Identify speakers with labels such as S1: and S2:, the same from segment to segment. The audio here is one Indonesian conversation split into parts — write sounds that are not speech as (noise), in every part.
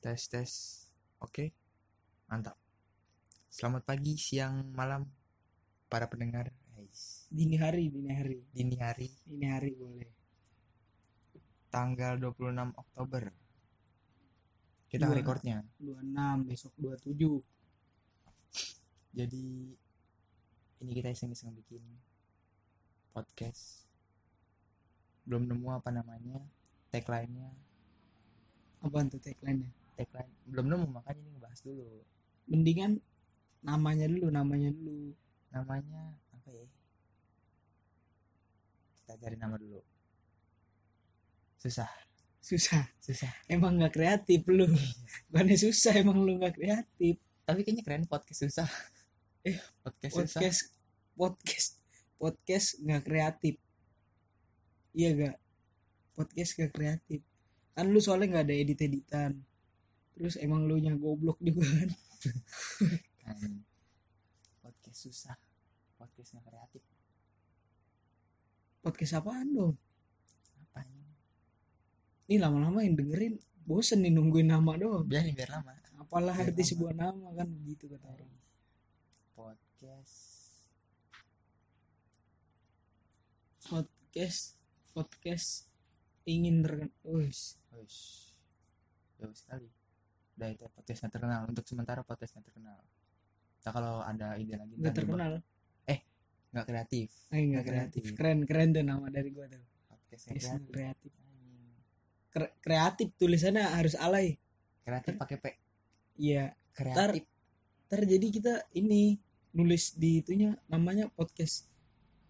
S1: tes tes oke mantap selamat pagi siang malam para pendengar Ais.
S2: Dini hari, dini hari,
S1: dini hari
S2: dini hari boleh.
S1: tanggal 26 Oktober kita
S2: Dua.
S1: recordnya
S2: 26 besok 27.
S1: jadi ini kita iseng-iseng bikin podcast belum nemu apa namanya tagline-nya
S2: Apaan tuh tagline-nya?
S1: tagline belum nemu makanya ini ngebahas dulu
S2: Mendingan namanya dulu, namanya dulu.
S1: namanya apa ya kita cari nama dulu susah
S2: Susah.
S1: susah
S2: Emang nggak kreatif lu. Bukannya susah, emang lu nggak kreatif.
S1: tapi kayaknya keren podcast (laughs) susah eh podcast, susah
S2: Podcast podcast podcast nggak kreatif. Iya gak? Podcast nggak kreatif. Kan lu soalnya nggak ada edit-editan. Terus emang lu nya goblok juga kan.
S1: Anjing. Hmm. podcast susah podcast nggak kreatif
S2: Podcast apaan dong?
S1: apa ini
S2: Ini lama-lama yang dengerin bosen nih nungguin nama doang.
S1: Oh, biarin biar lama
S2: apalah
S1: Biar
S2: arti
S1: lama.
S2: sebuah nama Iya, kan begitu kata orang
S1: podcast
S2: podcast podcast ingin terkenal Uish,
S1: Uish. jauh sekali udah itu podcastnya terkenal untuk sementara podcastnya terkenal nah kalau ada ide lagi ntar
S2: nggak
S1: dibahas.
S2: terkenal
S1: nggak kreatif
S2: eh nggak
S1: Iya, Nggak
S2: kreatif
S1: kreatif. Iya,
S2: keren keren tuh nama dari gua tuh
S1: podcastnya
S2: Podcast nggak
S1: kreatif
S2: kreatif
S1: Anjing.
S2: Kre- kreatif tulisannya harus alay
S1: kreatif pakai p
S2: iya
S1: kreatif
S2: ntar jadi kita ini nulis di itunya namanya podcast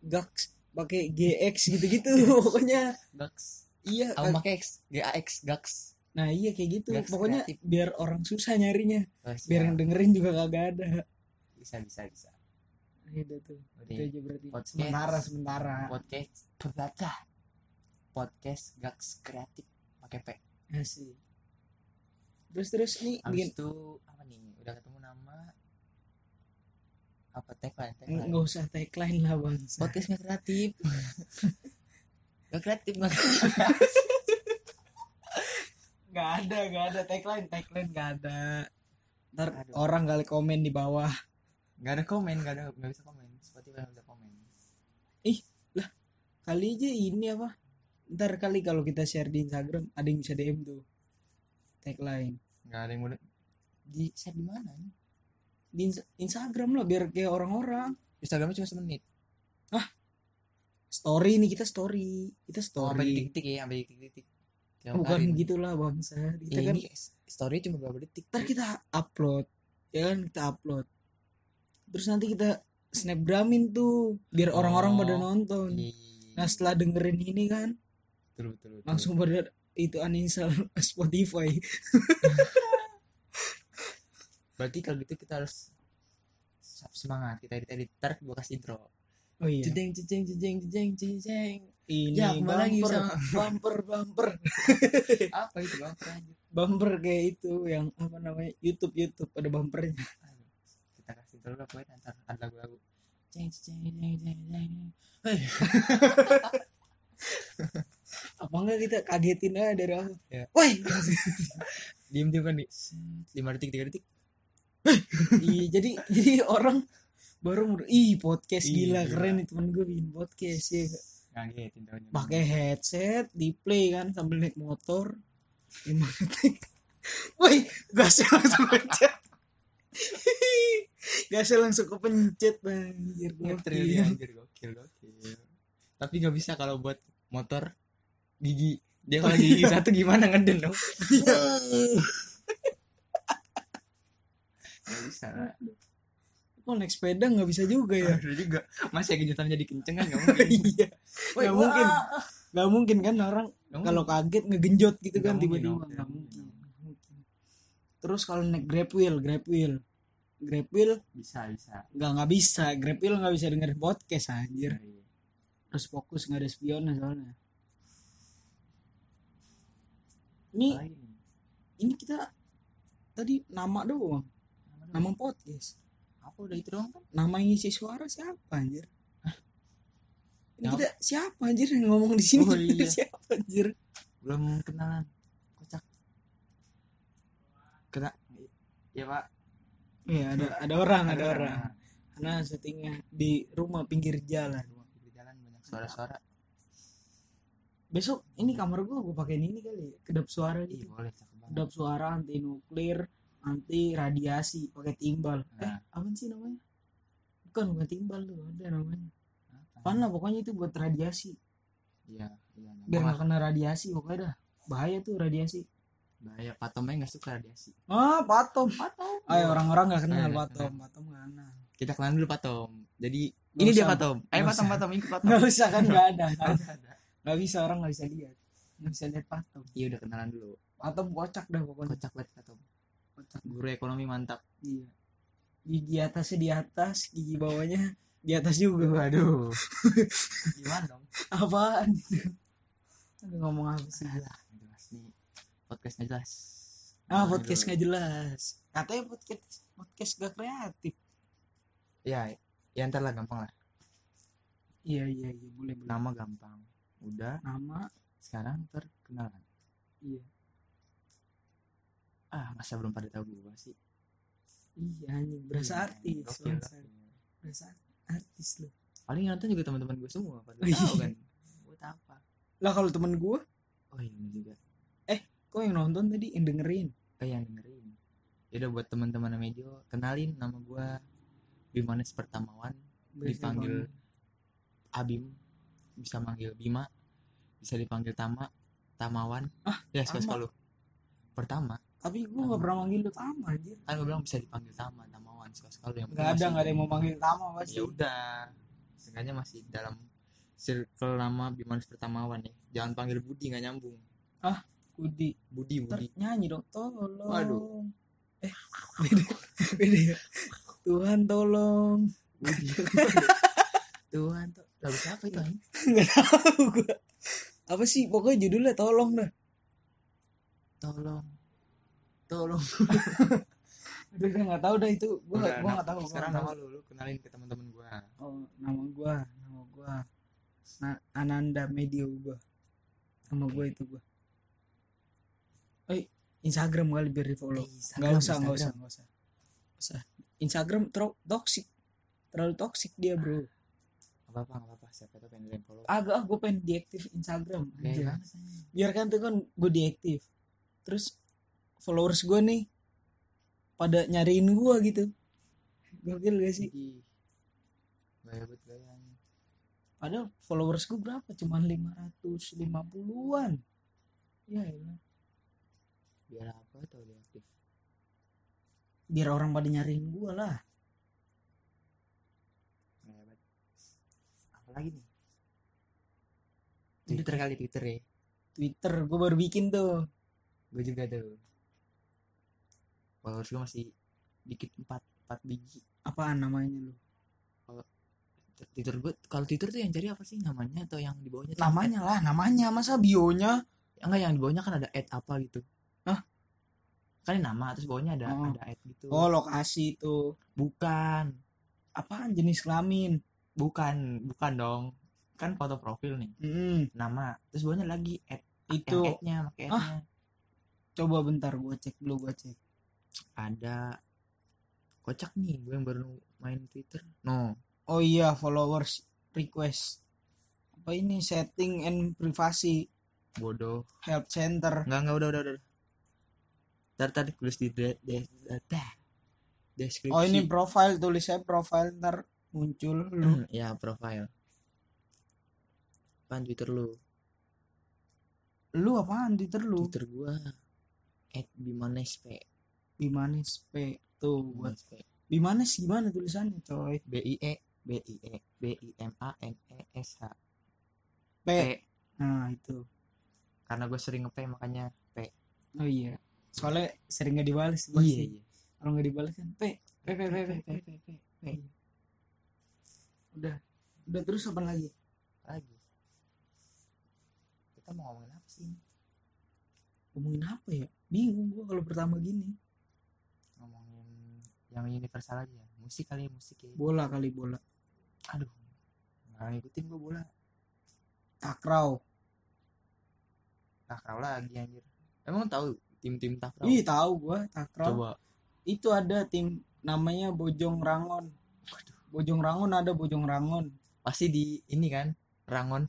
S2: gax pakai gx (laughs) gitu-gitu pokoknya
S1: Gax.
S2: iya
S1: Aku
S2: Kak.
S1: pakai X, GAX, Gax.
S2: nah iya kayak gitu
S1: Gax
S2: pokoknya
S1: kreatif.
S2: biar orang susah nyarinya
S1: Terus
S2: biar
S1: ya,
S2: yang dengerin juga kagak ada
S1: bisa bisa bisa.
S2: gitu tuh itu
S1: Udah.
S2: aja berarti
S1: Iya, podcast.
S2: sementara sementara
S1: Podcast berbaca. Podcast Gax kreatif pakai P.
S2: Asik. Iya Terus terus nih bikin
S1: Habis itu apa nih? Udah ketemu nama apa tagline?
S2: Nggak-
S1: tagline.
S2: nggak usah tagline lah bang.
S1: Podcast nggak
S2: (laughs)
S1: kreatif. Gak kreatif nggak kreatif.
S2: Nggak ada nggak ada tagline tagline nggak ada. Ntar
S1: Aduh.
S2: orang kali komen di bawah.
S1: Nggak ada komen, nggak ada nggak bisa komen. Spotify nggak bisa komen.
S2: Kali aja ini apa? Ntar kali kalau kita share di Instagram ada yang bisa DM tuh tagline
S1: Nggak ada yang udah di share di mana? ini?
S2: di Insta- Instagram lah biar kayak orang-orang
S1: Instagramnya cuma semenit.
S2: story nih kita story kita
S1: Oh, sampai
S2: story
S1: titik-titik ya, sampai titik-titik.
S2: bukan
S1: Tiap hari.
S2: gitulah bangsa kita
S1: Ya,
S2: kan
S1: ini story cuma berapa detik.
S2: ntar kita upload ya kan kita upload terus nanti kita snapgramin tuh biar
S1: Oh.
S2: orang-orang pada nonton
S1: Iya,
S2: nah setelah dengerin ini kan
S1: betul, betul, betul.
S2: langsung pada itu uninstall (laughs) Spotify
S1: Berarti kalau gitu kita harus tetap semangat. Kita edit edit ntar gua kasih intro.
S2: oh iya
S1: Cejeng cejeng cejeng cejeng cejeng.
S2: ini
S1: Ya, kembali lagi
S2: bumper,
S1: sama-
S2: (laughs) bumper bumper
S1: Apa itu bang? Lanjut.
S2: bumper kayak itu yang apa namanya YouTube YouTube ada bumpernya
S1: Aduh, Kita kasih intro dulu pokoknya ntar ada lagu-lagu. Ceng cejeng cejeng cejeng cejeng. Hei,
S2: (laughs) apa enggak kita kagetin aja dari awal
S1: Ya.
S2: woi
S1: diem diem kan di lima detik tiga detik.
S2: iya jadi jadi orang baru mur- ih podcast
S1: Iya,
S2: gila,
S1: gila.
S2: keren nih temen gue bikin podcast ya
S1: Kaget Nah, iya, intronya.
S2: pakai headset di play kan sambil naik motor lima detik (laughs) woi gasnya (laughs) langsung pencet gasnya langsung kepencet banjir
S1: ngetril
S2: gokil.
S1: ya anjir gokil gokil. Tapi nggak bisa kalau buat motor gigi dia kalau (laughs) gigi satu gimana ngeden dong? Gak bisa lah.
S2: (laughs) kok naik sepeda nggak bisa juga ya
S1: Aduh juga. Masih kejutan jadi kenceng (laughs) kan nggak mungkin.
S2: iya
S1: Woi, ah.
S2: nggak
S1: wah.
S2: mungkin nggak mungkin kan orang
S1: Nggak
S2: kalau
S1: mungkin.
S2: kaget ngegenjot gitu
S1: Oh. Nggak
S2: kan
S1: mungkin
S2: tiba-tiba
S1: dong,
S2: nggak
S1: nggak
S2: mungkin.
S1: mungkin.
S2: Nggak mungkin terus kalau naik grab wheel grab wheel grab wheel
S1: bisa bisa.
S2: nggak nggak bisa grab wheel nggak bisa dengerin podcast anjir
S1: Dari-
S2: terus fokus nggak ada spionnya soalnya ini
S1: Lain.
S2: ini kita tadi nama doang
S1: Nama
S2: nama podcast
S1: apa udah itu dong kan?
S2: nama yang ngisi suara siapa anjir ini
S1: Siapa?
S2: kita siapa anjir yang ngomong di sini
S1: Oh,
S2: (laughs)
S1: iya.
S2: siapa anjir
S1: Belum kenalan. Kocak.
S2: kena
S1: ya pak
S2: iya ada ada orang ada orang karena settingnya di rumah pinggir jalan
S1: rumah pinggir jalan banyak suara-suara
S2: besok ini kamar gua gua pakein ini kali ya, kedap suara
S1: iya
S2: gitu
S1: boleh cakep banget
S2: kedap suara anti nuklir anti radiasi pakai timbal eh
S1: Nah.
S2: apa sih namanya bukan bukan timbal tuh ada namanya
S1: Nah. Apa?
S2: pan lah pokoknya itu buat radiasi
S1: iya iya nyambung
S2: biar
S1: lah.
S2: nggak kena radiasi pokoknya dah bahaya tuh radiasi
S1: bahaya pak Tomnya nggak suka radiasi
S2: ah patom
S1: Patom
S2: ayo Ah, ya, orang-orang nggak kenal
S1: Eh, nggak
S2: patom patom nggak kenal
S1: kita kenalan dulu pak Tom jadi
S2: Nggak
S1: ini dia
S2: usah.
S1: pak Tom ayo
S2: Nggak
S1: pak Tom
S2: usah.
S1: pak Tom ikut pak Tom
S2: nggak usah kan nggak ada nggak ada.
S1: Ada, ada.
S2: nggak bisa orang nggak bisa lihat nggak bisa lihat patom
S1: iya udah kenalan dulu
S2: patom kocak dah pokoknya
S1: kocak banget pak Tom
S2: kocak
S1: guru ekonomi mantap
S2: iya gigi atasnya di atas gigi bawahnya di atas juga
S1: (laughs) waduh gimana dong
S2: apaan itu Aduh, ngomong apa sih gua?
S1: salah nggak jelas nih podcastnya jelas
S2: ah podcast nggak jelas katanya podcast podcast gak kreatif
S1: ya ya ntar lah gampang lah
S2: iya iya iya boleh boleh
S1: nama gampang udah
S2: nama
S1: sekarang perkenalan
S2: iya
S1: ah masa belum pada tahu gua sih
S2: iya anjing berasa
S1: Iya,
S2: artis
S1: gokil,
S2: bangsat.
S1: gokil.
S2: berasa artis lu
S1: paling yang nonton juga teman-teman gue semua pada
S2: Iya.
S1: tahu kan buat apa
S2: lah kalau temen gue
S1: oh iya bener juga
S2: kok yang nonton tadi yang dengerin
S1: eh yang dengerin ya udah buat teman-teman Mejo kenalin nama gue Bimanes Pertamawan
S2: Berasa
S1: Dipanggil.
S2: banget.
S1: Abim bisa manggil Bima bisa dipanggil Tama Tamawan
S2: Ah,
S1: ya suka
S2: Tama.
S1: suka lu pertama
S2: tapi gue nggak pernah manggil lu tama anjir
S1: kan gue bilang bisa dipanggil Tama Tamawan suka suka lu yang
S2: nggak ada nggak ada yang mau manggil tama pasti
S1: ya udah seenggaknya masih dalam circle nama Bimanes Pertamawan ya jangan panggil Budi nggak nyambung
S2: Budi
S1: Budi
S2: Ntar
S1: Budi
S2: nyanyi dong tolong
S1: Waduh.
S2: eh (laughs) beda beda ya. Tuhan tolong (laughs)
S1: Budi Tuhan tuh lagu siapa itu anjing?
S2: nggak tahu gua apa sih pokoknya judulnya tolong dah
S1: tolong tolong
S2: udah udah nggak tahu dah itu gua nggak- gua nggak tahu gua
S1: nah, sekarang
S2: nggak
S1: nama
S2: tahu.
S1: lu lu kenalin ke teman-teman gua
S2: oh, nama gua nama gua Na- Ananda Medio gua nama gua itu gua eh Instagram kali biar di follow nggak usah nggak usah nggak usah Nggak usah Instagram terlalu toxic terlalu toxic dia bro
S1: apa apa nggak apa siapa tuh pengen follow
S2: agak ah, gue pengen diaktif Instagram
S1: Gaya
S2: aja.
S1: banget, anjing.
S2: biarkan tuh kan gue diaktif terus followers gue nih pada nyariin gue gitu gokil gak sih
S1: Ih, gaya banget gaya anjing.
S2: padahal followers gue berapa cuman 550-an ya elah.
S1: biar apa tuh dia aktif
S2: biar orang pada nyariin gue lah
S1: gaya banget apa lagi nih
S2: Udah.
S1: Twitter kali Twitter ya
S2: Twitter gue baru bikin tuh
S1: gue juga tuh followers gue masih dikit empat empat biji
S2: apaan namanya lu
S1: Twitter gue kalau Twitter tuh yang cari apa sih namanya atau yang di bawahnya tuh?
S2: namanya lah namanya masa bionya
S1: enggak yang di bawahnya kan ada ad apa gitu
S2: Hah?
S1: kan ini nama terus bawahnya ada
S2: Oh.
S1: ada ad gitu
S2: oh lokasi tuh
S1: bukan
S2: apaan jenis kelamin
S1: bukan bukan dong kan foto profil nih
S2: Mm-mm.
S1: nama terus bawahnya lagi ad
S2: itu
S1: yang adnya pakai
S2: Ah.
S1: adnya
S2: coba bentar gue cek dulu gue cek
S1: ada kocak nih gue yang baru main Twitter no
S2: Oh iya, followers request. Apa ini setting and privacy
S1: bodoh
S2: help center.
S1: enggak enggak udah udah udah ntar tadi tulis di de, de, de- de- deskripsi
S2: Oh ini profile tulisnya profile ntar muncul lu.
S1: (clears throat) ya profile pan Twitter lu
S2: Lu apaan Twitter lu?
S1: Twitter gua at bimanes p
S2: Bimanes P tuh buat
S1: bimanes p
S2: Bimanes gimana tulisannya coy?
S1: b i e b i e b i m a n e s h
S2: P.
S1: p
S2: Nah, itu.
S1: karena gue sering nge makanya p
S2: Oh iya. Soalnya sering gak dibales pasti.
S1: iya
S2: Kalau gak dibales kan P. P P P P P.
S1: p p p
S2: Udah. Udah terus apa lagi?
S1: lagi kita mau ngomongin apa sih
S2: Ngomongin apa ya? Bingung gua kalau pertama gini.
S1: ngomongin yang universal aja musik kali ya musik ya
S2: Bola kali bola.
S1: aduh nggak ngikutin gue bola
S2: Takraw.
S1: takraw lagi anjir emang tahu tim-tim takraw.
S2: Ih tahu gua Iya, takraw.
S1: Coba
S2: Itu ada tim namanya Bojong Rangon. Bojong Rangon ada Bojong Rangon.
S1: pasti di ini kan Rangon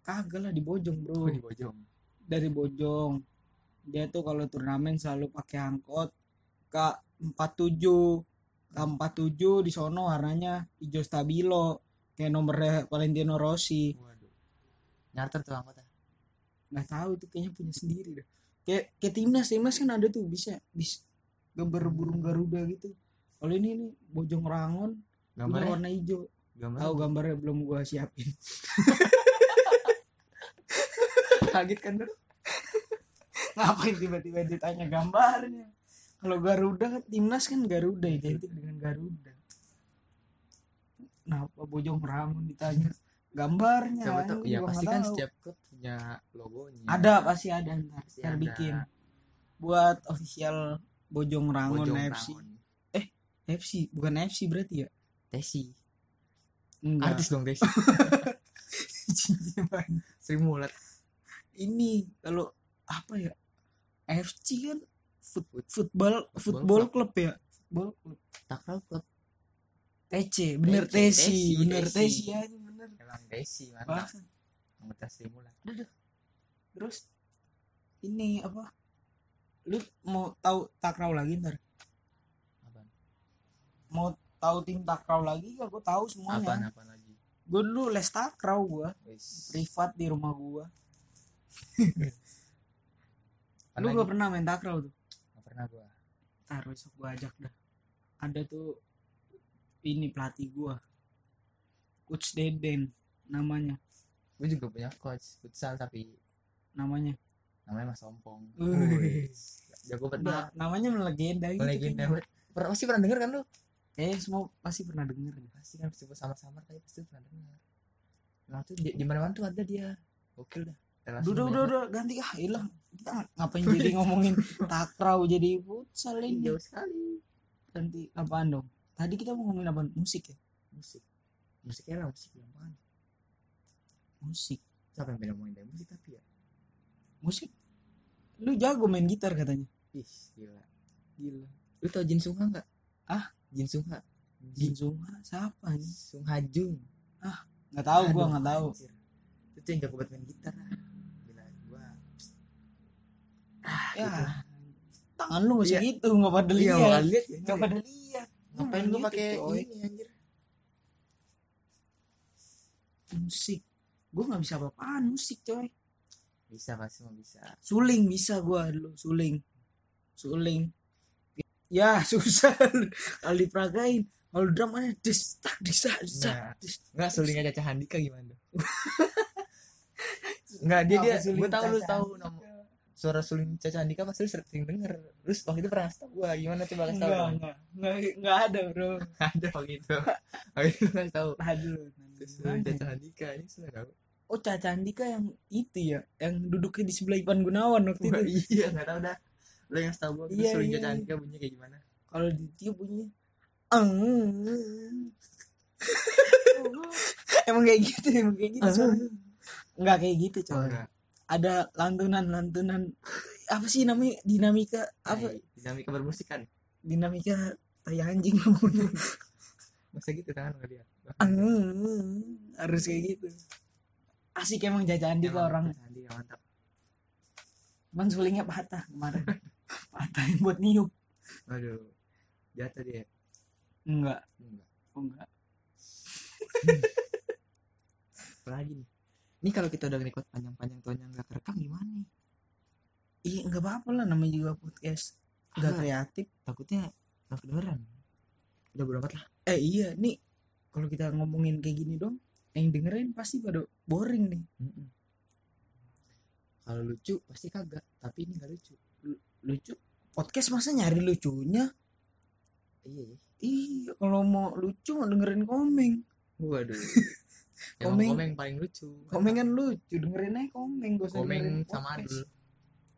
S2: Kagak lah di Bojong bro.
S1: di Bojong.
S2: Dari Bojong. Dia tuh kalau turnamen selalu pakai angkot K47. K47 di sono warnanya hijau stabilo kayak nomornya Valentino Rossi.
S1: Waduh. Nyarter tuh anggota.
S2: nggak tahu tuh kayaknya punya sendiri dah kayak kayak timnas timnas kan ada tuh bisa bis gambar burung garuda gitu kalau ini nih bojong rangon punya
S1: Gambarnya,
S2: warna hijau
S1: gambarnya
S2: tahu gambarnya belum gua siapin kaget kan Dor? ngapain tiba-tiba ditanya gambarnya kalau garuda kan timnas kan garuda identik dengan garuda kenapa bojong rangon ditanya gambarnya
S1: Siapa tahu-
S2: anjing,
S1: ya
S2: gua
S1: pasti
S2: nggak
S1: kan
S2: tahu.
S1: setiap klub punya logonya.
S2: Ada pasti ada ntar,
S1: Pasti
S2: ntar
S1: ada.
S2: bikin buat official Bojong Rangon
S1: Bojong
S2: FC.
S1: Rangon.
S2: FC bukan FC berarti ya?
S1: Tesi.
S2: Enggak.
S1: Artis dong
S2: (laughs)
S1: Tesi. Sri Mulat.
S2: Ini kalau apa ya? FC kan
S1: Foot.
S2: football
S1: Football
S2: football club ya? Football club.
S1: Takraw klub.
S2: TC, bener
S1: TC,
S2: TC, bener
S1: TC.
S2: TC ya, bener.
S1: Emang Tesi
S2: Wah,
S1: mantap. Anggota Sri Mulat.
S2: terus ini apa? Lu mau tahu takraw lagi ntar?
S1: Apaan?
S2: Mau tahu tim takraw lagi? Gak gue tahu
S1: Apaan
S2: semuanya.
S1: apaan lagi?
S2: Gue dulu les takraw gue.
S1: Wis.
S2: privat di rumah gua.
S1: Apaan
S2: Lu
S1: lagi?
S2: gak pernah main takraw tuh?
S1: Nggak pernah gua.
S2: Ntar besok gua ajak dah. Ada tuh ini pelatih gua. Coach Deden namanya,
S1: Gua juga punya coach futsal tapi
S2: namanya.
S1: namanya Mas Sompong.
S2: Wih.
S1: Wis. Jago banget.
S2: Nah, namanya melegenda gitu.
S1: Legenda.
S2: kayaknya.
S1: Pernah pasti pernah denger kan lu?
S2: Kayaknya Eh, semua pasti pernah denger deh.
S1: pasti kan pasti sama-sama tapi pasti pernah dengar nah tuh di, di mana-mana tuh ada dia gokil dah Relasi
S2: Duh, duh,
S1: banyak.
S2: duh, duh, ganti ah, hilang. Kita ng- ngapain jadi
S1: (laughs)
S2: ngomongin takraw jadi futsal
S1: Ih,
S2: ini?
S1: jauh sekali
S2: Ganti apaan dong? Tadi kita mau ngomongin apa? Musik ya?
S1: musik musiknya lah musik gampang
S2: Musik.
S1: siapa yang bilang main dari musik tapi ya
S2: Musik. Lu jago main gitar katanya.
S1: ih gila
S2: Gila.
S1: lu tau Jin Sungha nggak
S2: Ah?
S1: Jin Sungha
S2: Jin Sungha siapa nih?
S1: Sungha Jung
S2: Nggak tahu gua nggak tahu.
S1: itu tuh yang jago banget main gitar ah. gila gua
S2: Ya. Tangan lu masih
S1: Iya.
S2: gitu nggak pada
S1: Iya,
S2: lihat.
S1: makanya lihat ya,
S2: Nggak pada lihat.
S1: ngapain
S2: Emang
S1: lu
S2: gitu,
S1: pakai
S2: coy.
S1: ini anjir
S2: Musik. Gua nggak bisa apa-apaan musik coy.
S1: bisa pasti mau bisa
S2: Suling bisa gua dulu suling. Suling. Ya (laughs) susah kalau diperagain. Kalau drum ada dis tak dis tak, dis, tak,
S1: Nah.
S2: dis.
S1: Enggak sulingnya Caca Handika (laughs) gimana? Enggak dia dia
S2: Apa suling
S1: gue tahu lu
S2: Caca
S1: tahu
S2: Handika?
S1: nom- suara suling Caca Handika pasti lu sering denger. Lu waktu itu pernah kasih tau gue gimana coba kasih tau
S2: Enggak,
S1: dong. (laughs)
S2: enggak, enggak, enggak ada bro.
S1: Ada waktu itu. Waktu itu kasih tau
S2: Aduh.
S1: suling Caca Handika ini sudah tahu.
S2: Oh Caca Andika yang itu ya, yang duduknya di sebelah Ipan Gunawan waktu itu.
S1: Wah, Iya enggak tahu dah. Lu yang tahu gue
S2: Iya,
S1: suling
S2: iya,
S1: Caca
S2: iya.
S1: Handika bunyinya kayak gimana?
S2: kalau ditiup bunyinya "Eng." (laughs) emang kayak gitu emang kayak gitu suaranya. nggak kayak gitu
S1: Oh,
S2: coy
S1: enggak.
S2: ada lantunan lantunan apa sih namanya dinamika apa
S1: Nah, dinamika bermusik kan?
S2: dinamika tai anjing namanya.
S1: Masa gitu kan enggak dia.
S2: Eng. (laughs) harus kayak gitu asik emang jajanan dia
S1: Emang
S2: orang
S1: Caca Handika mantap.
S2: cuman sulingnya patah kemarin patah yang buat niup
S1: Aduh. Jatuh dia.
S2: enggak
S1: Enggak.
S2: oh,
S1: (laughs)
S2: enggak
S1: Apa lagi nih? Ini kalau kita udah ngerekod panjang-panjang tuanya nggak kerekam gimana nih?
S2: iya enggak apa-apa lah namanya juga podcast enggak
S1: Ah.
S2: kreatif
S1: takutnya nggak kedengeran udah bodo amat lah
S2: eh iya nih kalau kita ngomongin kayak gini dong yang dengerin pasti pada boring nih
S1: kalau lucu pasti kagak tapi ini nggak lucu
S2: lucu podcast masa nyari lucunya
S1: iya ya
S2: iya kalau mau lucu mau dengerin komeng
S1: waduh
S2: (laughs)
S1: Emang
S2: Komeng.
S1: komeng. paling lucu
S2: komeng kan lucu dengerin aja komeng gak usah
S1: komeng
S2: dengerin
S1: sama
S2: podcast.
S1: adul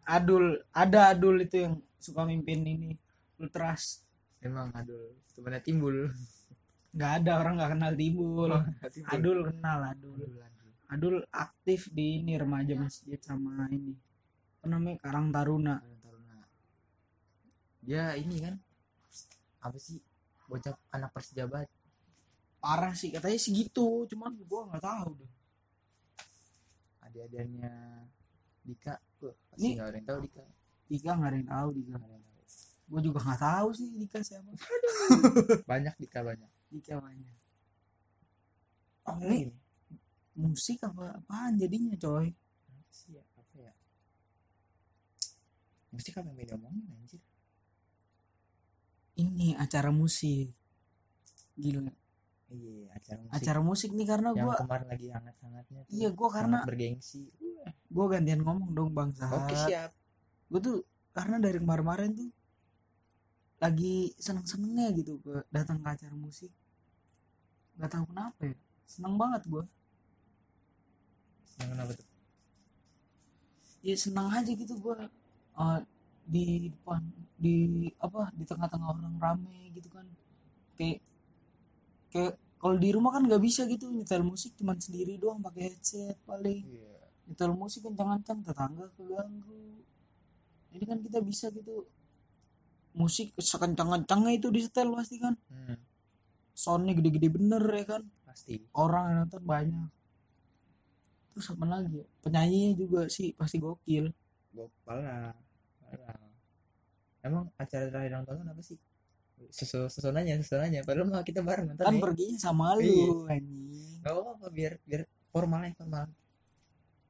S2: adul ada adul itu yang suka mimpin ini ultras
S1: emang adul temannya timbul
S2: nggak ada orang nggak kenal timbul
S1: Oh, (laughs) gitu. adul
S2: adul kenal adul
S1: Adul, Adul.
S2: adul aktif di ini remaja masjid sama ini apa namanya Karang Taruna
S1: Karang Taruna. Nah. Dia ini kan apa sih bocah anak persejabat
S2: parah sih katanya segitu cuman gua nggak tahu deh
S1: adik-adiknya Dika Wah, pasti
S2: Nih.
S1: nggak ada yang tahu Dika
S2: Dika nggak ada yang tahu Dika
S1: Nggak ada yang tahu.
S2: gue juga nggak tahu sih Dika siapa
S1: banyak Dika banyak
S2: Dika banyak oh, ini musik apa apaan jadinya coy
S1: Apa sih ya apa ya mesti kamu yang beda omongin anjir
S2: ini acara musik gila
S1: iya acara musik
S2: acara musik nih karena
S1: yang
S2: gua
S1: kemarin lagi hangat-hangatnya tuh.
S2: iya gua karena Iya.
S1: Sangat bergengsi
S2: gua gantian ngomong dong bang Sahat
S1: oke siap
S2: gue tuh karena dari kemarin-kemarin tuh lagi seneng-senengnya gitu ke datang ke acara musik nggak tahu kenapa ya seneng banget gua
S1: yang kenapa tuh
S2: ya senang aja gitu gua eh, di depan di apa di tengah-tengah orang rame gitu kan kayak kayak kalau di rumah kan nggak bisa gitu nyetel musik cuman sendiri doang pakai headset paling
S1: iya
S2: nyetel musik kencang-kencang tetangga keganggu ini kan kita bisa gitu musik sekencang-kencangnya itu disetel pasti kan
S1: hmm,
S2: soundnya gede-gede bener ya kan
S1: pasti
S2: orang yang nonton banyak terus apa lagi ya? penyanyinya juga sih pasti gokil
S1: gopal lah parah. emang acara terakhir yang tonton apa sih Susu, susunannya susunannya padahal mah kita bareng nonton
S2: kan
S1: ya.
S2: perginya sama lu anjing
S1: nggak apa-apa biar biar formalnya formal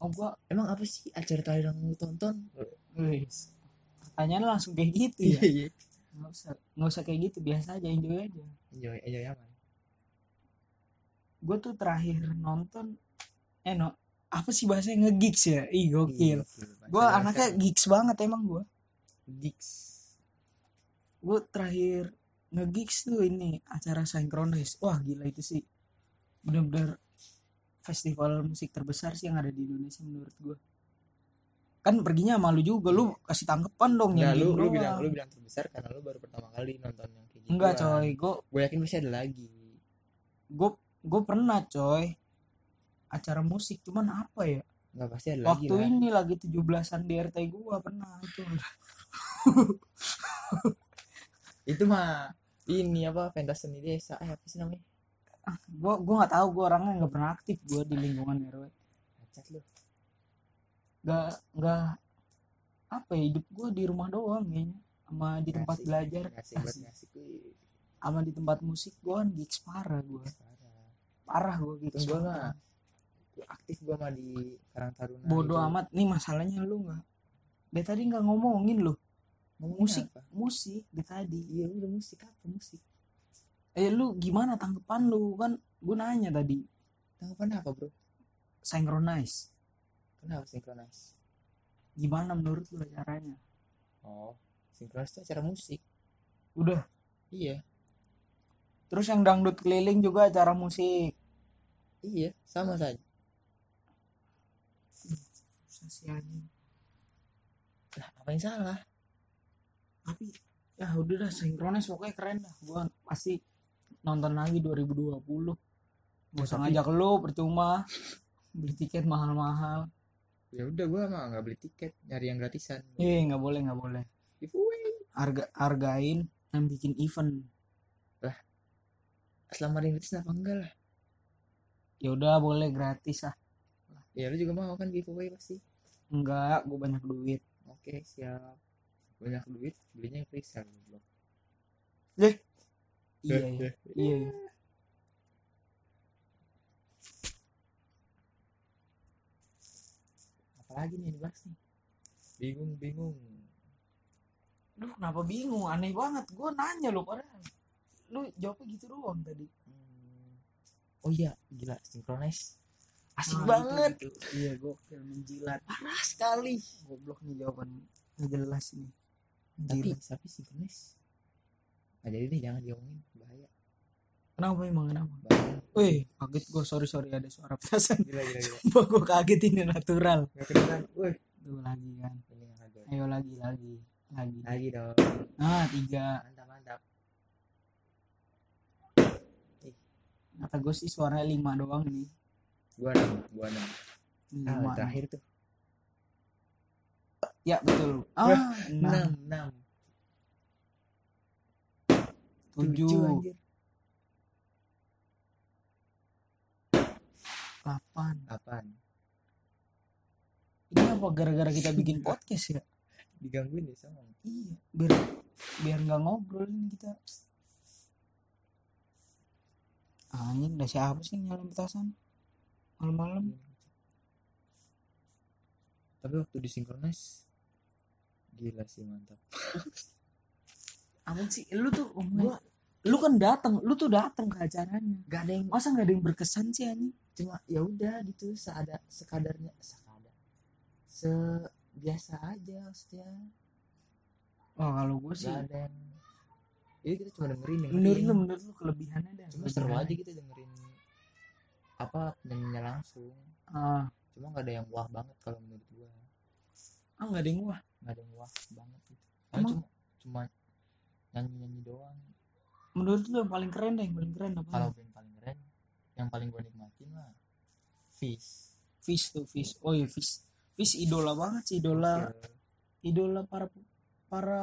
S2: oh gua
S1: emang apa sih acara terakhir yang lu tonton
S2: wes pertanyaan langsung kayak gitu ya
S1: iya
S2: nggak usah nggak usah kayak gitu biasa aja enjoy aja
S1: enjoy enjoy aman
S2: gue tuh terakhir nonton eh no apa sih bahasanya ngegigs ya ih gokil
S1: Iya.
S2: gue anaknya gigs banget emang gue
S1: gigs
S2: gue terakhir ngegigs tuh ini acara synchronize wah gila itu sih bener-bener festival musik terbesar sih yang ada di Indonesia menurut gue kan perginya sama lu juga lu kasih tanggapan dong
S1: Enggak, lu, lu
S2: doang.
S1: bilang lu bilang terbesar karena lu baru pertama kali nonton yang kayak gitu
S2: enggak coy gue
S1: gue yakin pasti ada lagi
S2: gue gue pernah coy acara musik cuman apa ya
S1: enggak pasti ada lagi
S2: waktu
S1: lah
S2: ini lagi 17-an di RT gue pernah itu
S1: itu mah ini apa pentas seni desa eh apa sih namanya
S2: gue gue nggak tahu gue orangnya nggak pernah aktif gue di lingkungan RW
S1: Cacat lu
S2: nggak nggak apa ya hidup gue di rumah doang kayaknya sama di tempat
S1: Ngasih-
S2: belajar
S1: ngasih buat
S2: Asik.
S1: ngasih kuy.
S2: sama di tempat musik gue kan gigs parah gue
S1: Parah.
S2: parah gue
S1: Terus
S2: gigs
S1: gue mah
S2: parah.
S1: aktif gue mah di Karang Taruna gitu.
S2: bodoh
S1: itu.
S2: amat nih masalahnya lu nggak dia tadi nggak ngomongin loh
S1: Ngomongin
S2: musik.
S1: apa?
S2: musik dia tadi
S1: iya udah musik apa musik
S2: eh lu gimana tanggapan lu kan gue nanya tadi
S1: tanggapan apa bro
S2: synchronize
S1: kenapa sinkronis
S2: gimana menurut lu caranya
S1: oh sinkronis itu acara musik
S2: udah
S1: iya
S2: terus yang dangdut keliling juga acara musik
S1: iya sama saja
S2: Susah sih, anjing.
S1: lah apa yang salah
S2: tapi ya udah dah sinkronis pokoknya keren dah gua pasti nonton lagi 2020 gak
S1: Ya,
S2: usah
S1: tapi-
S2: ngajak lu percuma beli tiket mahal-mahal
S1: ya udah gue mah nggak beli tiket nyari yang gratisan
S2: eh nggak boleh nggak boleh
S1: giveaway
S2: harga hargain yang bikin event
S1: selama ada yang gratis kenapa enggak lah
S2: ya udah boleh gratis ah
S1: ya lu juga mau kan giveaway pasti
S2: enggak gue banyak duit
S1: oke siap banyak duit belinya yang freestyle goblok.
S2: iya iya iya iya.
S1: apalagi nih yang dibahas nih bingung bingung
S2: Duh kenapa bingung aneh banget gue nanya lo padahal lu jawabnya gitu doang tadi
S1: Hmm. oh iya gila sinkronis asik
S2: Nah,
S1: banget
S2: gitu, gitu. iya gue menjilat
S1: parah sekali
S2: goblok nih jawaban nggak jelas nih
S1: tapi
S2: Gila.
S1: tapi sinkronis nah, jadi deh jangan diomongin bahaya
S2: kenapa emang kenapa
S1: bahaya
S2: Wih, kaget gue sorry sorry ada suara petasan.
S1: gila gila gila
S2: gue kaget ini natural.
S1: nggak kedengeran woi
S2: Tuh lagi kan.
S1: ini yang agak
S2: Ayo lagi lagi lagi.
S1: lagi dong
S2: Ah tiga.
S1: mantap mantap
S2: Kata gue sih suaranya lima doang nih.
S1: gua enam gua enam ah,
S2: Lima.
S1: terakhir tuh
S2: ya betul ah enam
S1: enam enam
S2: tujuh
S1: anjir.
S2: delapan
S1: Apaan?
S2: ini apa gara-gara kita bikin podcast ya
S1: Digangguin ya sama.
S2: iya biar biar nggak ngobrol ini kita anjing udah siapa sih nyalain petasan malam-malam
S1: Tapi waktu disinkronis gila sih mantap.
S2: Amin sih lu tuh gua lu kan datang lu tuh datang ke acaranya
S1: Gak ada yang
S2: masa nggak ada yang berkesan sih anjing
S1: cuma ya udah gitu seada sekadarnya sekadar sebiasa aja maksudnya
S2: oh kalau gue sih
S1: gak ada yang jadi kita cuma dengerin dengerin
S2: menurut lu menurut lu kelebihannya ada
S1: cuma seru aja gitu. kita dengerin apa penyanyinya langsung
S2: ah
S1: cuma gak ada yang wah banget kalau menurut gua
S2: ah nggak ada yang wah
S1: gak ada yang wah banget gitu
S2: Emang?
S1: Paling cuma cuma nyanyi nyanyi doang
S2: menurut lu yang paling keren deh yang paling keren apa
S1: kalau band paling keren yang paling gua nikmatin lah Fish
S2: fish tuh fish oh iya fish fish idola banget sih
S1: ya.
S2: idola idola para para
S1: para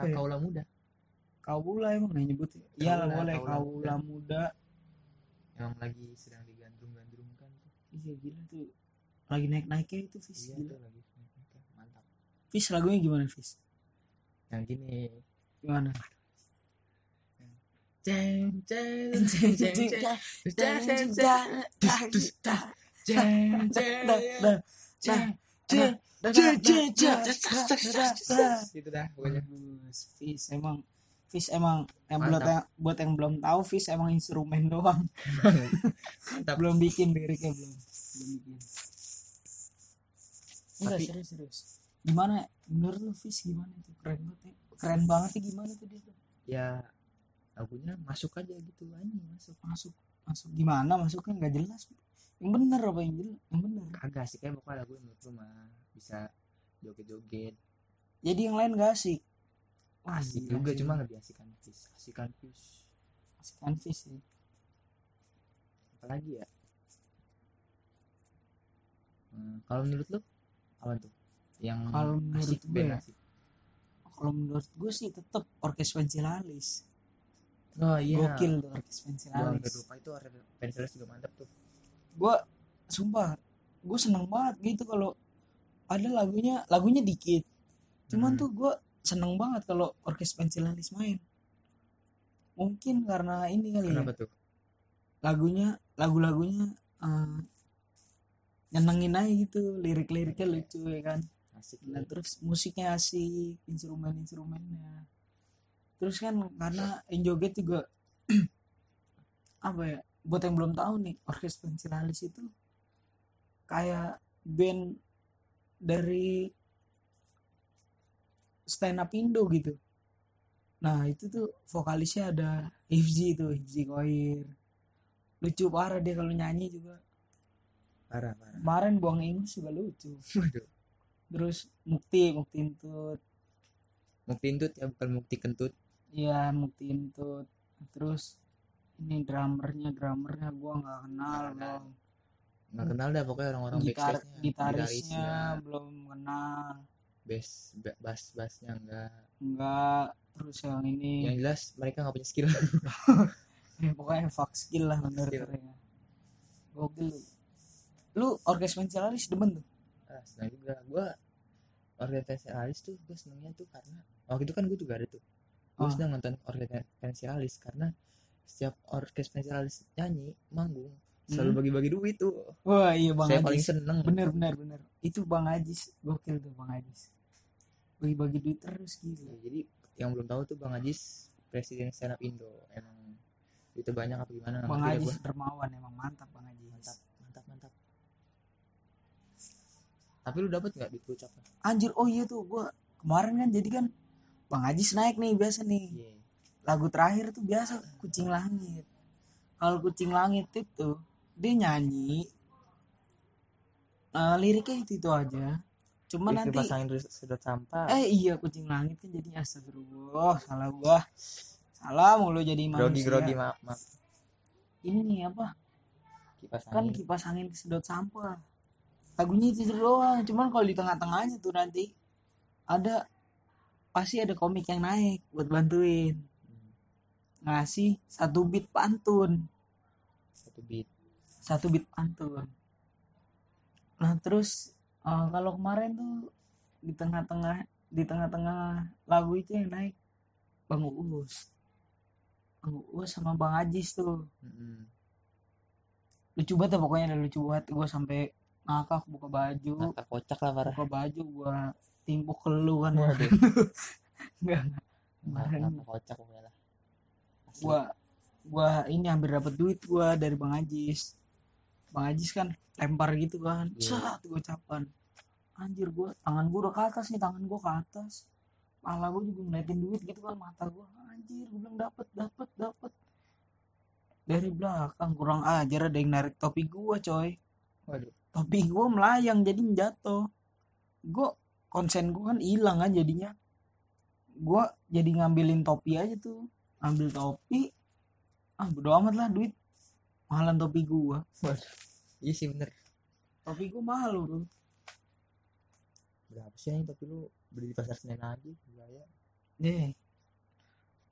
S2: apa ya?
S1: kaula muda
S2: kaula emang nanya nyebut ya lah
S1: Kaula,
S2: boleh
S1: kaula. Iya.
S2: kaula muda
S1: yang lagi sedang digandrung-gandrungkan tuh
S2: iya gila tuh lagi naik naiknya itu fish
S1: iya
S2: gila.
S1: tuh lagi mantap
S2: fish lagunya gimana fish
S1: yang gini
S2: gimana
S1: Jeng jeng jeng jeng jeng jeng jeng jeng jeng
S2: Ceng,
S1: jeng jeng jeng gitu dah
S2: (laughs)
S1: pokoknya
S2: Bagus. Fis emang Fis emang yang buat yang, buat yang belum tahu Fis emang instrumen doang
S1: mantap
S2: belum bikin liriknya belum belum bikin enggak
S1: Tapi-
S2: serius serius gimana ya? menurut lu Fis gimana tuh keren banget ya. keren banget ya gimana tuh dia tuh
S1: ya lagunya masuk aja gitu anjing masuk
S2: masuk masuk gimana masuknya nggak jelas yang bener apa yang jelas yang bener
S1: kagak sih kayak ya, pokoknya lagu menurut lu mah bisa joget-joget
S2: jadi yang lain gak asik Wah,
S1: asik
S2: gila
S1: juga
S2: sih.
S1: cuma lebih asikan fish asikan fish
S2: asikan Fis sih
S1: apalagi ya Hmm, kalau menurut lu apa tuh yang
S2: Kalau menurut
S1: asik
S2: gue
S1: band
S2: ya.
S1: asik
S2: kalau menurut gue sih tetap orkes pensilalis
S1: oh iya
S2: gokil tuh orkes
S1: gua
S2: pensilalis
S1: hampir lupa itu pensilis juga mantap tuh
S2: Iya. gue sumpah gue seneng banget gitu kalau ada lagunya lagunya dikit cuman
S1: Hmm.
S2: tuh gue seneng banget kalau orkes pensilalis main mungkin karena ini kali ya
S1: kenapa tuh
S2: lagunya lagu-lagunya eh, nyenengin aja gitu lirik-liriknya lucu ya kan
S1: asik
S2: Nah, terus musiknya asik, instrumen-instrumennya. Terus kan karena yang joget juga (clears throat) apa ya? Buat yang belum tahu nih, Orkes Pensilalis itu kayak band dari stand up Indo gitu. Nah, itu tuh vokalisnya ada Hifzi tuh, Hifzi Koir. Lucu parah dia kalau nyanyi juga.
S1: parah parah
S2: Kemarin buang ingus juga lucu.
S1: waduh
S2: Terus Mukti, Mukti Intut.
S1: mukti kentut ya bukan mukti kentut
S2: Iya Mukti Intut terus ini drummernya drummernya gua nggak kenal
S1: Nggak kenal.
S2: belum
S1: nggak kenal dah pokoknya orang-orang
S2: Hmm. gitar
S1: backstage
S2: gitarisnya
S1: ya.
S2: belum kenal
S1: bass ba- bass bassnya enggak
S2: nggak terus yang
S1: yang
S2: ini
S1: jelas mereka nggak punya skill
S2: ya, pokoknya fuck skill lah
S1: Fuck
S2: bener
S1: skill.
S2: katanya. gokil lu lu orkes pensilaris demen tuh
S1: ah, senang juga gue organisasialis tuh gue senangnya tuh karena waktu itu kan gue juga ada tuh gue
S2: Ah.
S1: senang nonton organisasialis karena setiap orkes pensialis nyanyi manggung
S2: Hmm.
S1: selalu bagi-bagi duit tuh
S2: wah iya bang
S1: saya
S2: Ajis
S1: paling seneng
S2: bener bener bener itu bang Ajis gokil tuh bang Ajis bagi-bagi duit terus
S1: Ya,
S2: gila
S1: jadi yang belum tahu tuh bang Ajis presiden stand up Indo emang itu banyak apa gimana nggak
S2: bang
S1: ngerti dah
S2: Ajis
S1: Nah, gua.
S2: dermawan emang mantap bang Ajis
S1: mantap mantap mantap tapi lu dapat nggak duit gocap
S2: anjir oh iya tuh gua kemarin kan jadi kan bang Ajis naik nih biasa nih
S1: iya
S2: lagu terakhir tuh biasa kucing langit kalau kucing langit itu dia nyanyi eh, liriknya itu itu aja cuma
S1: nanti
S2: nanti
S1: pasangin sedot sampah
S2: eh iya kucing langit kan jadi astagfirullah salah gua salah mulu jadi
S1: grogi
S2: manusia
S1: grogi maaf maaf
S2: ini nih apa
S1: kipas
S2: kan
S1: angin
S2: kipas angin sedot sampah lagunya itu doang cuman kalau di tengah-tengahnya tuh nanti ada pasti ada komik yang naik buat bantuin ngasih satu beat pantun
S1: satu beat
S2: satu beat pantun nah terus eh, kalau kemarin tuh di tengah-tengah di tengah-tengah lagu itu yang naik bang uus bang uus sama bang ajis tuh
S1: Mm-mm.
S2: lucu banget dah pokoknya dah, lucu banget gue sampai ngakak buka baju
S1: Mata kocak lah parah
S2: buka baju gue timbuk ke lu kan
S1: Waduh.
S2: (laughs) enggak
S1: Mata kocak pokoknya lah Asli.
S2: gua gua ini hampir dapat duit gua dari Bang Ajis. Bang Ajis kan lempar gitu kan.
S1: Iya.
S2: Saat gua capan. Anjir gua tangan gua udah ke atas nih, tangan gua ke atas. Pala gua juga ngeliatin duit gitu kan mata gua. Anjir, gua bilang dapat, dapat, dapat. Dari belakang kurang ajar ada yang narik topi gua, coy.
S1: Waduh.
S2: Topi gua melayang jadi jatuh. Gua konsen gua kan hilang kan jadinya. Gua jadi ngambilin topi aja tuh ambil topi ah bodo amat lah duit mahalan topi gua
S1: Iya sih bener
S2: topi gua mahal bro
S1: Berapa sih nih tapi lu beli di pasar Senen lagi Iya
S2: deh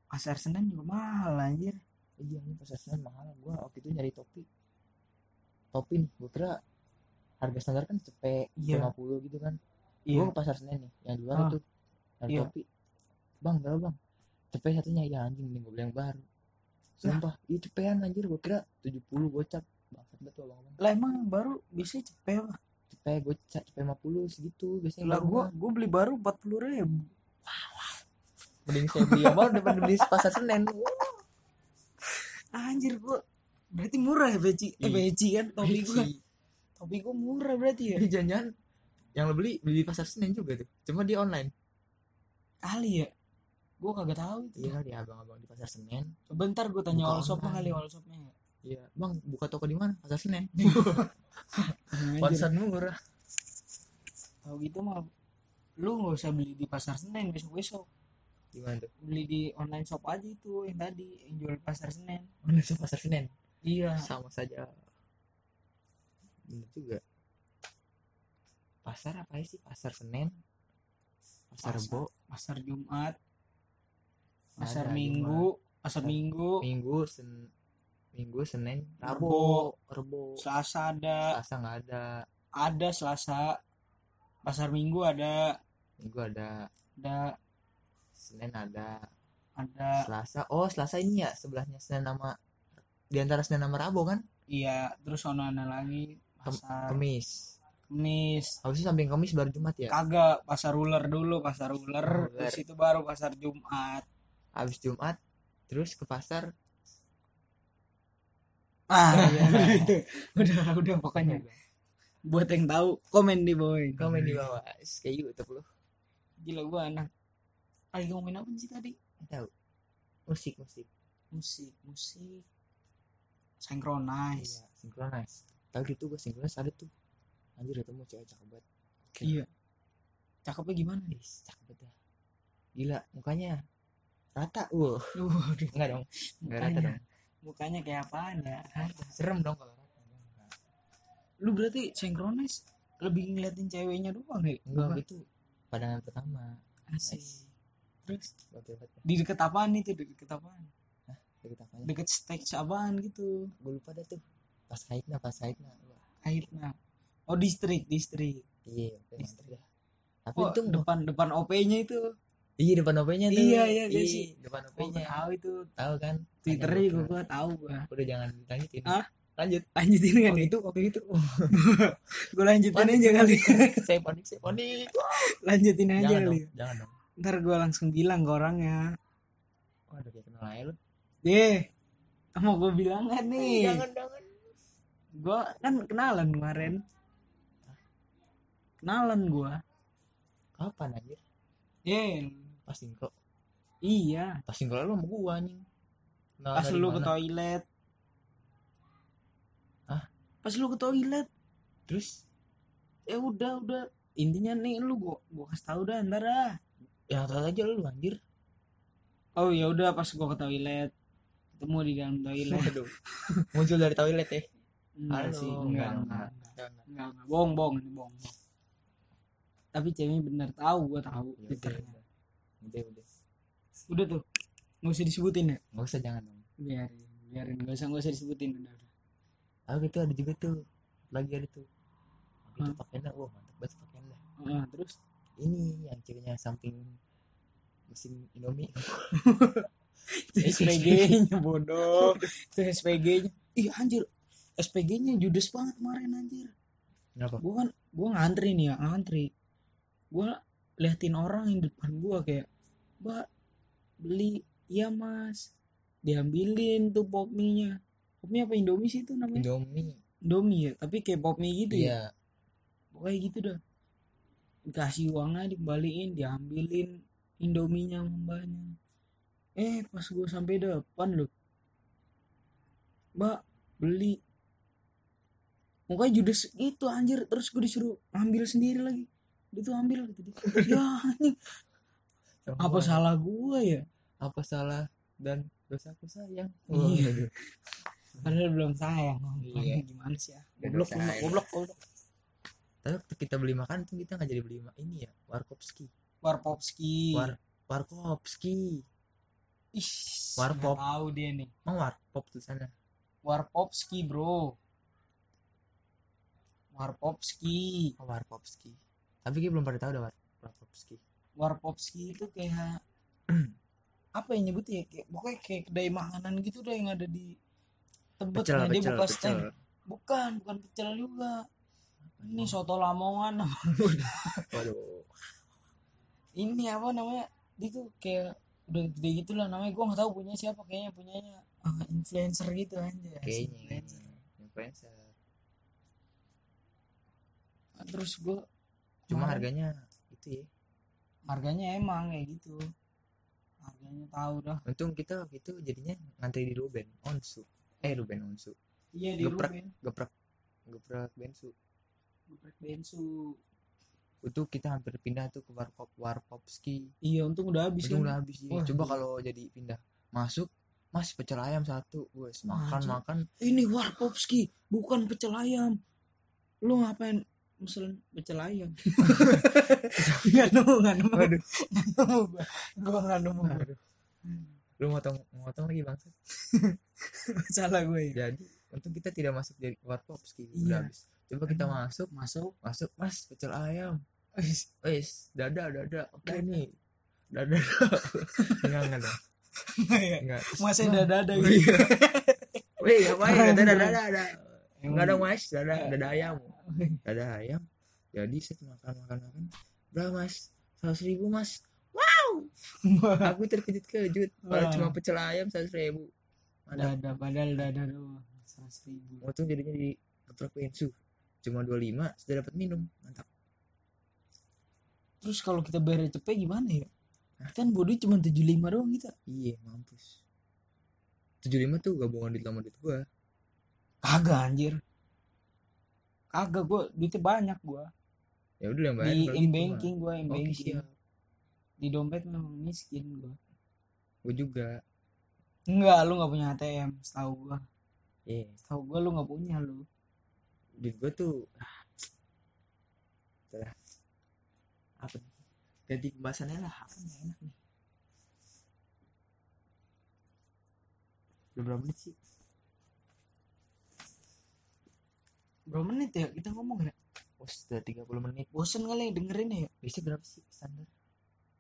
S2: pasar senen juga mahal anjir
S1: Iya ini pasar Senen mahal Gua waktu itu nyari topi Topi nih gua kira harga standar kan cepet
S2: Iya.
S1: 50 gitu kan
S2: iya
S1: Gua ke pasar Senen nih yang di luar
S2: Ah.
S1: itu Nyari
S2: Iya.
S1: topi Bang berapa bang Cepet satunya ya anjing mending gua beli yang baru Sumpah Iya cepean anjir gua kira 70 gocap Bangsat banget tuh abang-abang
S2: lah emang yang baru biasanya cepet apa
S1: Cepet gocap cepet 50 segitu Biasanya
S2: lah
S1: baru
S2: gua
S1: mah.
S2: gua beli baru empat puluh ribu
S1: Mending saya beli yang baru daripada beli di pasar Senen
S2: anjir gua berarti murah ya beci eh
S1: Iya.
S2: beci kan topi gua
S1: Beli.
S2: topi gua murah berarti ya
S1: Jadi jangan yang lo beli beli di pasar Senen juga tuh. Cuma dia online.
S2: kali ya gua kagak tahu itu
S1: Iya kali abang-abang di pasar Senen.
S2: sebentar gua tanya
S1: Buka
S2: all shopnya
S1: online.
S2: kali ya. all shopnya
S1: Iya, Bang, buka toko di mana? Pasar Senen.
S2: Anjir.
S1: Konsen murah.
S2: Kalau Nah, gitu mah lu nggak usah beli di pasar Senen besok-besok.
S1: Gimana tuh?
S2: Beli di online shop aja itu yang tadi yang jual di pasar Senen.
S1: Online shop pasar Senen.
S2: Iya.
S1: Sama saja. Nah, Bener juga. Pasar apa sih? Pasar Senen. Pasar
S2: Pasar.
S1: Rebo,
S2: Pasar Jumat, pasar
S1: ada
S2: Minggu, pasar Minggu,
S1: Jumat. Minggu, Sen Minggu, Senin,
S2: Rebo.
S1: Rabu, Rebo.
S2: Selasa ada,
S1: Selasa nggak ada.
S2: ada Selasa. Pasar Minggu ada,
S1: Minggu ada,
S2: ada
S1: Senin ada.
S2: ada
S1: Selasa. Oh, Selasa ini ya sebelahnya Senin nama di antara Senin sama Rabu kan?
S2: iya, terus ono ada lagi pasar
S1: Kamis.
S2: Kamis.
S1: Habis itu samping Kamis baru Jumat ya.
S2: Kagak pasar ular dulu, pasar
S1: Ular.
S2: ular, terus itu baru pasar Jumat.
S1: Habis Jumat terus ke pasar
S2: Ah,
S1: Iya.
S2: udah itu.
S1: (laughs)
S2: Udah, udah pokoknya. buat yang tahu komen di bawah ini.
S1: komen di bawah. Is, Kayak YouTube lu.
S2: gila gua anak lagi ngomongin apa sih tadi
S1: Nggak Tahu. Musik musik.
S2: musik musik synchronize
S1: Iya, synchronize. Tahu gitu gue synchronize ada tuh. Anjir ketemu cewek cakep banget.
S2: iya cakepnya gimana (laughs) nih
S1: Is, cakep banget. dah. Gila, mukanya rata. Wow,
S2: Waduh,
S1: enggak dong. Enggak rata
S2: mukanya
S1: dong.
S2: mukanya kayak apaan ya
S1: Serem dong kalau rata.
S2: lu berarti synchronize lebih ngeliatin ceweknya doang ya
S1: Enggak gitu. Pandangan pertama.
S2: asik
S1: Nice.
S2: terus
S1: Gokil banget. dah.
S2: di deket apaan itu di deket apaan
S1: Deket apanya?
S2: deket stage apaan gitu
S1: gue lupa dah tuh Nah, pas haidna pas haidna Wah,
S2: akhirnya oh distrik distrik
S1: iya oke,
S2: Istri.
S1: mantap dah. tapi
S2: oh,
S1: untung
S2: depan depan op nya itu
S1: iya depan openya tuh
S2: Iya, iya, guys,
S1: Iya,
S2: sih.
S1: depan
S2: oh,
S1: openya
S2: tahu itu
S1: tahu kan
S2: twitternya
S1: Tanya
S2: juga
S1: gua. Ah,
S2: gua tahu gua
S1: udah jangan lanjutin
S2: Hah?
S1: lanjut
S2: lanjutin
S1: waktu
S2: kan nih
S1: Oh, itu gitu. waktu
S2: (laughs)
S1: itu
S2: gue lanjutin
S1: Panik,
S2: aja kali
S1: (laughs) saya panik saya panik
S2: (laughs) lanjutin aja
S1: jangan
S2: kali
S1: dong jangan dong
S2: ntar gue langsung bilang ke orangnya
S1: waduh kayak kenal aja lu
S2: deh mau gue bilang kan nih
S1: Iya, jangan jangan
S2: gue kan kenalan kemarin kenalan gue
S1: kapan anjir
S2: Ye,
S1: pas singkro
S2: iya
S1: pas singkro lu sama gua anjing Kenal
S2: pas
S1: dari
S2: lu ke
S1: mana?
S2: toilet
S1: Hah?
S2: pas lu ke toilet
S1: terus
S2: ya udah udah intinya nih lu gue gue kasih tau dah ntar dah
S1: yang ternyata ya, aja lu anjir
S2: oh ya udah pas gue ke toilet ketemu di dalam
S1: (laughs)
S2: toilet
S1: waduh muncul dari toilet ya
S2: enggak
S1: Halo,
S2: sih
S1: enggak,
S2: enggak
S1: enggak.
S2: enggak enggak bohong bohong ini bohong tapi ceweknya bener tahu gua tahu
S1: Ya,
S2: Twitter
S1: udah, udah udah
S2: udah tuh nggak usah disebutin ya
S1: nggak usah jangan dong
S2: biarin biarin nggak usah nggak usah disebutin udah udah
S1: ah itu ada juga tuh lagi ada tuh Waktu itu
S2: Hmm.
S1: pakaiannya wah mantap banget pakaiannya
S2: Ah,
S1: Nah,
S2: terus
S1: ini yang ceweknya samping mesin Indomie
S2: Itu SPG-nya (laughs) bodoh itu SPG-nya ih anjir SPG-nya judes banget kemarin anjir
S1: kenapa
S2: gua kan gua ngantri nih ya ngantri gua liatin orang yang di depan gua kayak mbak beli iya mas diambilin tuh pop mie-nya pop mie apa indomie sih itu namanya
S1: Indomie
S2: indomie ya tapi kayak pop mie gitu ya
S1: iya
S2: pokoknya gitu dah dikasih uangnya dikembaliin diambilin indominya sama mbaknya eh pas gue sampai depan loh mbak beli mukanya judes gitu anjir terus gue disuruh ambil sendiri lagi dia tuh ambil gitu dia (laughs) ya anjing
S1: Sama
S2: apa
S1: gua.
S2: salah gue ya
S1: apa salah dan dosaku sayang
S2: Iya.
S1: Waduh.
S2: padahal belum sayang
S1: Iya.
S2: gimana sih ya
S1: Belum
S2: goblok goblok
S1: sayang.
S2: goblok goblok
S1: tapi waktu kita beli makan tuh kita nggak jadi beli ma- ini ya warkopski
S2: warpopski
S1: War- warkopski
S2: Ih,
S1: Warpop.
S2: nggak tahu dia nih
S1: emang warkop tuh sana
S2: Warpopski bro Warpopski
S1: oh, warkopski tapi kita belum pada tahu dah war warkopski
S2: Warpopski itu kayak (clears throat) apa ya nyebutnya kayak, pokoknya kayak kedai makanan gitu deh yang ada di tebet
S1: pecel
S2: Nah,
S1: pecel
S2: dia buka
S1: pecel
S2: stand bukan bukan pecel juga ini
S1: Hmm.
S2: soto lamongan (laughs)
S1: waduh
S2: ini apa namanya dia tuh kayak udah gede gitu lah namanya gua nggak tahu punya siapa kayaknya punyanya ah, influencer gitu aja
S1: kayaknya ya. influencer
S2: terus gua
S1: cuma
S2: kemarin-
S1: harganya itu ya
S2: harganya emang kayak gitu harganya tahu dah
S1: untung kita waktu itu jadinya ngantri di Ruben onsu eh Ruben onsu
S2: iya di
S1: Geprek.
S2: Ruben
S1: geprek geprek bensu
S2: geprek bensu
S1: itu kita hampir pindah tuh ke warkop warkopski
S2: iya untung udah habis
S1: Untung
S2: kan
S1: udah habis sih.
S2: Wah,
S1: Coba
S2: iya.
S1: kalau jadi pindah masuk Mas pecel ayam satu, wes
S2: Wah,
S1: makan
S2: anjir. (laughs)
S1: makan.
S2: ini warpopski bukan pecel ayam lu ngapain mesen pecel
S1: (laughs)
S2: ayam nggak nemu nggak nemu
S1: Waduh.
S2: Nggak nemu gua. gua nggak nemu
S1: (laughs) Lu motong motong lagi bang.
S2: salah gue ya
S1: Jadi untung kita tidak masuk jadi warkop sih
S2: Iya.
S1: udah habis. Coba kita
S2: Emang.
S1: masuk,
S2: masuk
S1: masuk Mas pecel ayam. Wes, Eh, dada dada. Oke
S2: Dada.
S1: nih. Dada. (laughs) Enggak enggak dong. (laughs) Enggak.
S2: (laughs) masih dada dada gitu
S1: Iya. Weh,
S2: Keren,
S1: ngapain ya? dada
S2: keren.
S1: dada dada. Enggak dong, Mas. Dada dada ayam. Dada ayam. Jadi saya makan makan makan. Berapa, Mas? 100 ribu, Mas. (laughs) aku terkejut-kejut kalau
S2: Wah.
S1: cuma pecel ayam seratus ribu mana
S2: dada padahal dada doang seratus ribu
S1: untung jadinya di geprek bensu cuma 25 sudah dapat minum mantap
S2: terus kalau kita bayar cepet gimana ya kan bodoh cuma tujuh lima doang kita
S1: iya mampus 75 tuh gabungan duit lama duit gua
S2: kagak anjir kagak gue duitnya banyak gue
S1: ya udah yang bayar
S2: di
S1: kalau gitu
S2: in
S1: mah. iya.
S2: banking gue in
S1: oke
S2: banking
S1: siap
S2: di dompet memang miskin gue
S1: gua juga
S2: enggak lu nggak punya ATM setahu gue
S1: iya
S2: setahu gue lu nggak punya lu
S1: duit gua tuh ah, telah apa nih? ganti pembahasannya lah apa nih enak nih udah berapa menit sih
S2: berapa menit ya kita ngomong ya
S1: oh sudah 30 menit
S2: bosen kali ya dengerin ya
S1: Biasanya berapa sih standar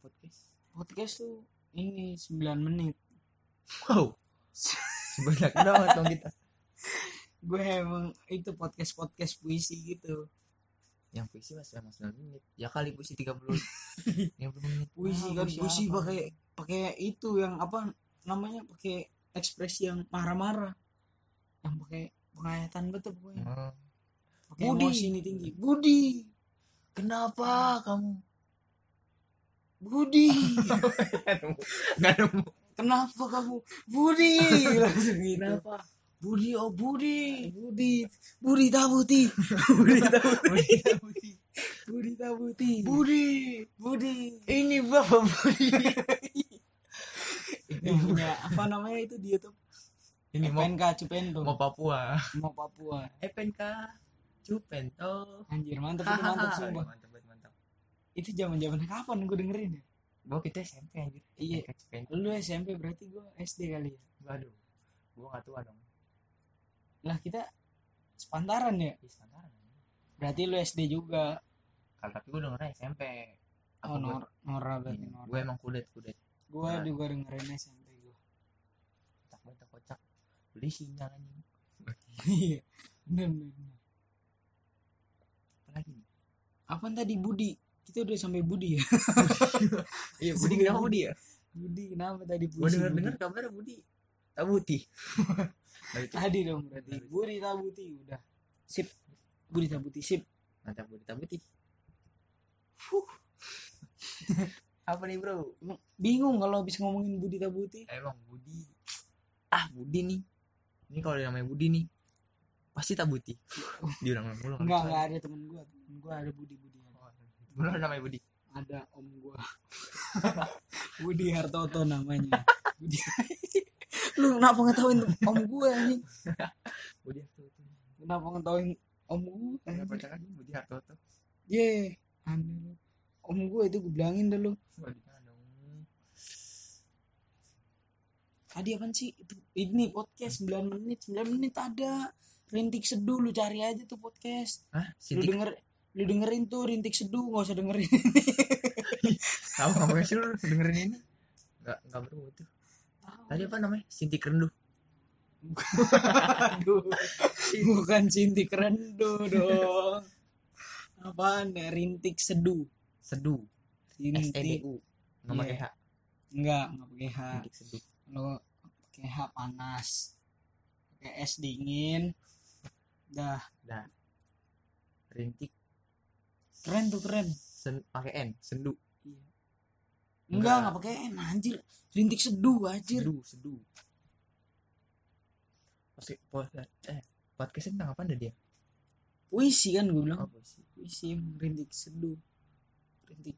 S1: podcast?
S2: podcast tuh ini 9 menit
S1: Wow,
S2: (laughs)
S1: sebanyak banget dong kita.
S2: gue emang itu podcast podcast puisi gitu
S1: Yang puisi mas emang 9 menit. Ya kali puisi 30 30 menit.
S2: (laughs) puisi
S1: Ah,
S2: kan puisi
S1: apa?
S2: pakai pakai itu yang apa namanya pakai ekspresi yang marah-marah yang pakai pengayatan betul pokoknya
S1: Hmm.
S2: pakai
S1: Budi.
S2: emosi ini tinggi Budi
S1: Kenapa (laughs) kamu?
S2: Budi (laughs)
S1: Gak nemu.
S2: kenapa kamu Budi langsung gitu
S1: Kenapa?
S2: Budi oh Budi Budi Budi Tabuti Budi Tabuti Budi Tabuti Budi Budi
S1: Ini bapak Budi.
S2: yang punya apa namanya itu di YouTube
S1: Ini mau
S2: PNK Cupento
S1: mau Papua.
S2: mau Papua
S1: Eh PNK. Cupen. Oh.
S2: anjir mantep itu mantep
S1: Hahaha.
S2: sumpah
S1: Mantap banget, mantap.
S2: itu zaman zaman kapan gue dengerin ya
S1: Gue kita SMP anjir.
S2: Iya.
S1: SMP.
S2: lu SMP berarti gue SD kali ya
S1: Waduh. Gue gak tua dong.
S2: lah kita sepantaran ya
S1: Ih, sepantaran.
S2: berarti lu SD juga
S1: Kalau tapi gue dengernya SMP. Apa
S2: oh,
S1: gua-
S2: Nor Nora berarti
S1: Iya,
S2: Nora
S1: Gue emang kudet kudet.
S2: gue
S1: Nora.
S2: juga dengerin SMP gue
S1: Kocak kocak kocak. Beli sinyal anjing.
S2: (laughs) iya bener bener, bener.
S1: Apa lagi nih?
S2: Apaan tadi Budi? Kita udah sampai Budi ya.
S1: Iya
S2: Budi, kenapa Budi
S1: ya?
S2: Budi kenapa tadi Budi?
S1: Gue denger dengar kabar Budi. (laughs) Tabuti. Nah, itu.
S2: Tadi dong berarti Budi Tabuti udah. Sip. Budi Tabuti sip.
S1: Mantap Budi Tabuti. (laughs) Apa nih bro?
S2: Emang Bingung kalau habis ngomongin Budi Tabuti.
S1: Emang Budi. Eh, Ah Budi nih. Ini kalau namanya Budi nih. Pasti
S2: (laughs)
S1: Tabuti. Diulang-ulang mulu.
S2: Enggak enggak ada temen gua. Temen gua ada Budi Budi.
S1: Belum Oh, namanya Budi.
S2: Ada om gua. (laughs) Budi Hartoto namanya. Budi. (laughs) Lu kenapa ngetahuin om gua anjing?
S1: Budi Hartoto.
S2: Kenapa ngetahuin om gua?
S1: Kenapa
S2: anjing?
S1: pacaran nih, Budi Hartoto?
S2: Ye. Aneh. Om gua itu gue bilangin dah lu.
S1: Wah, di sana dong.
S2: Tadi apaan sih? Itu, ini podcast 9 menit, 9 menit ada. Rintik Seduh lu cari aja tuh podcast.
S1: Hah?
S2: Lu
S1: Sintik
S2: denger lu dengerin tuh Rintik Seduh, nggak usah dengerin. (laughs)
S1: tahu nggak sih lu dengerin ini? Enggak enggak perlu tuh. Tadi apa namanya? Sintik renduh.
S2: Aduh. Bukan Cinti Kerendu dong. Apaan ya? Rintik Seduh.
S1: Seduh.
S2: Rintik.
S1: STDU. Nomor
S2: Iya.
S1: EH.
S2: Enggak, enggak pakai H.
S1: Sintik seduh.
S2: Lo pakai H panas. Pakai S dingin. Dah,
S1: Rintik
S2: keren tuh keren.
S1: sen pakai N, sendu.
S2: Enggak,
S1: Enggak.
S2: enggak pakai N anjir. Rintik Seduh anjir.
S1: Seduh, seduh. Pasti podcast eh podcastnya tentang apa dah dia?
S2: puisi kan gue bilang
S1: Apa sih?
S2: puisi rintik seduh rintik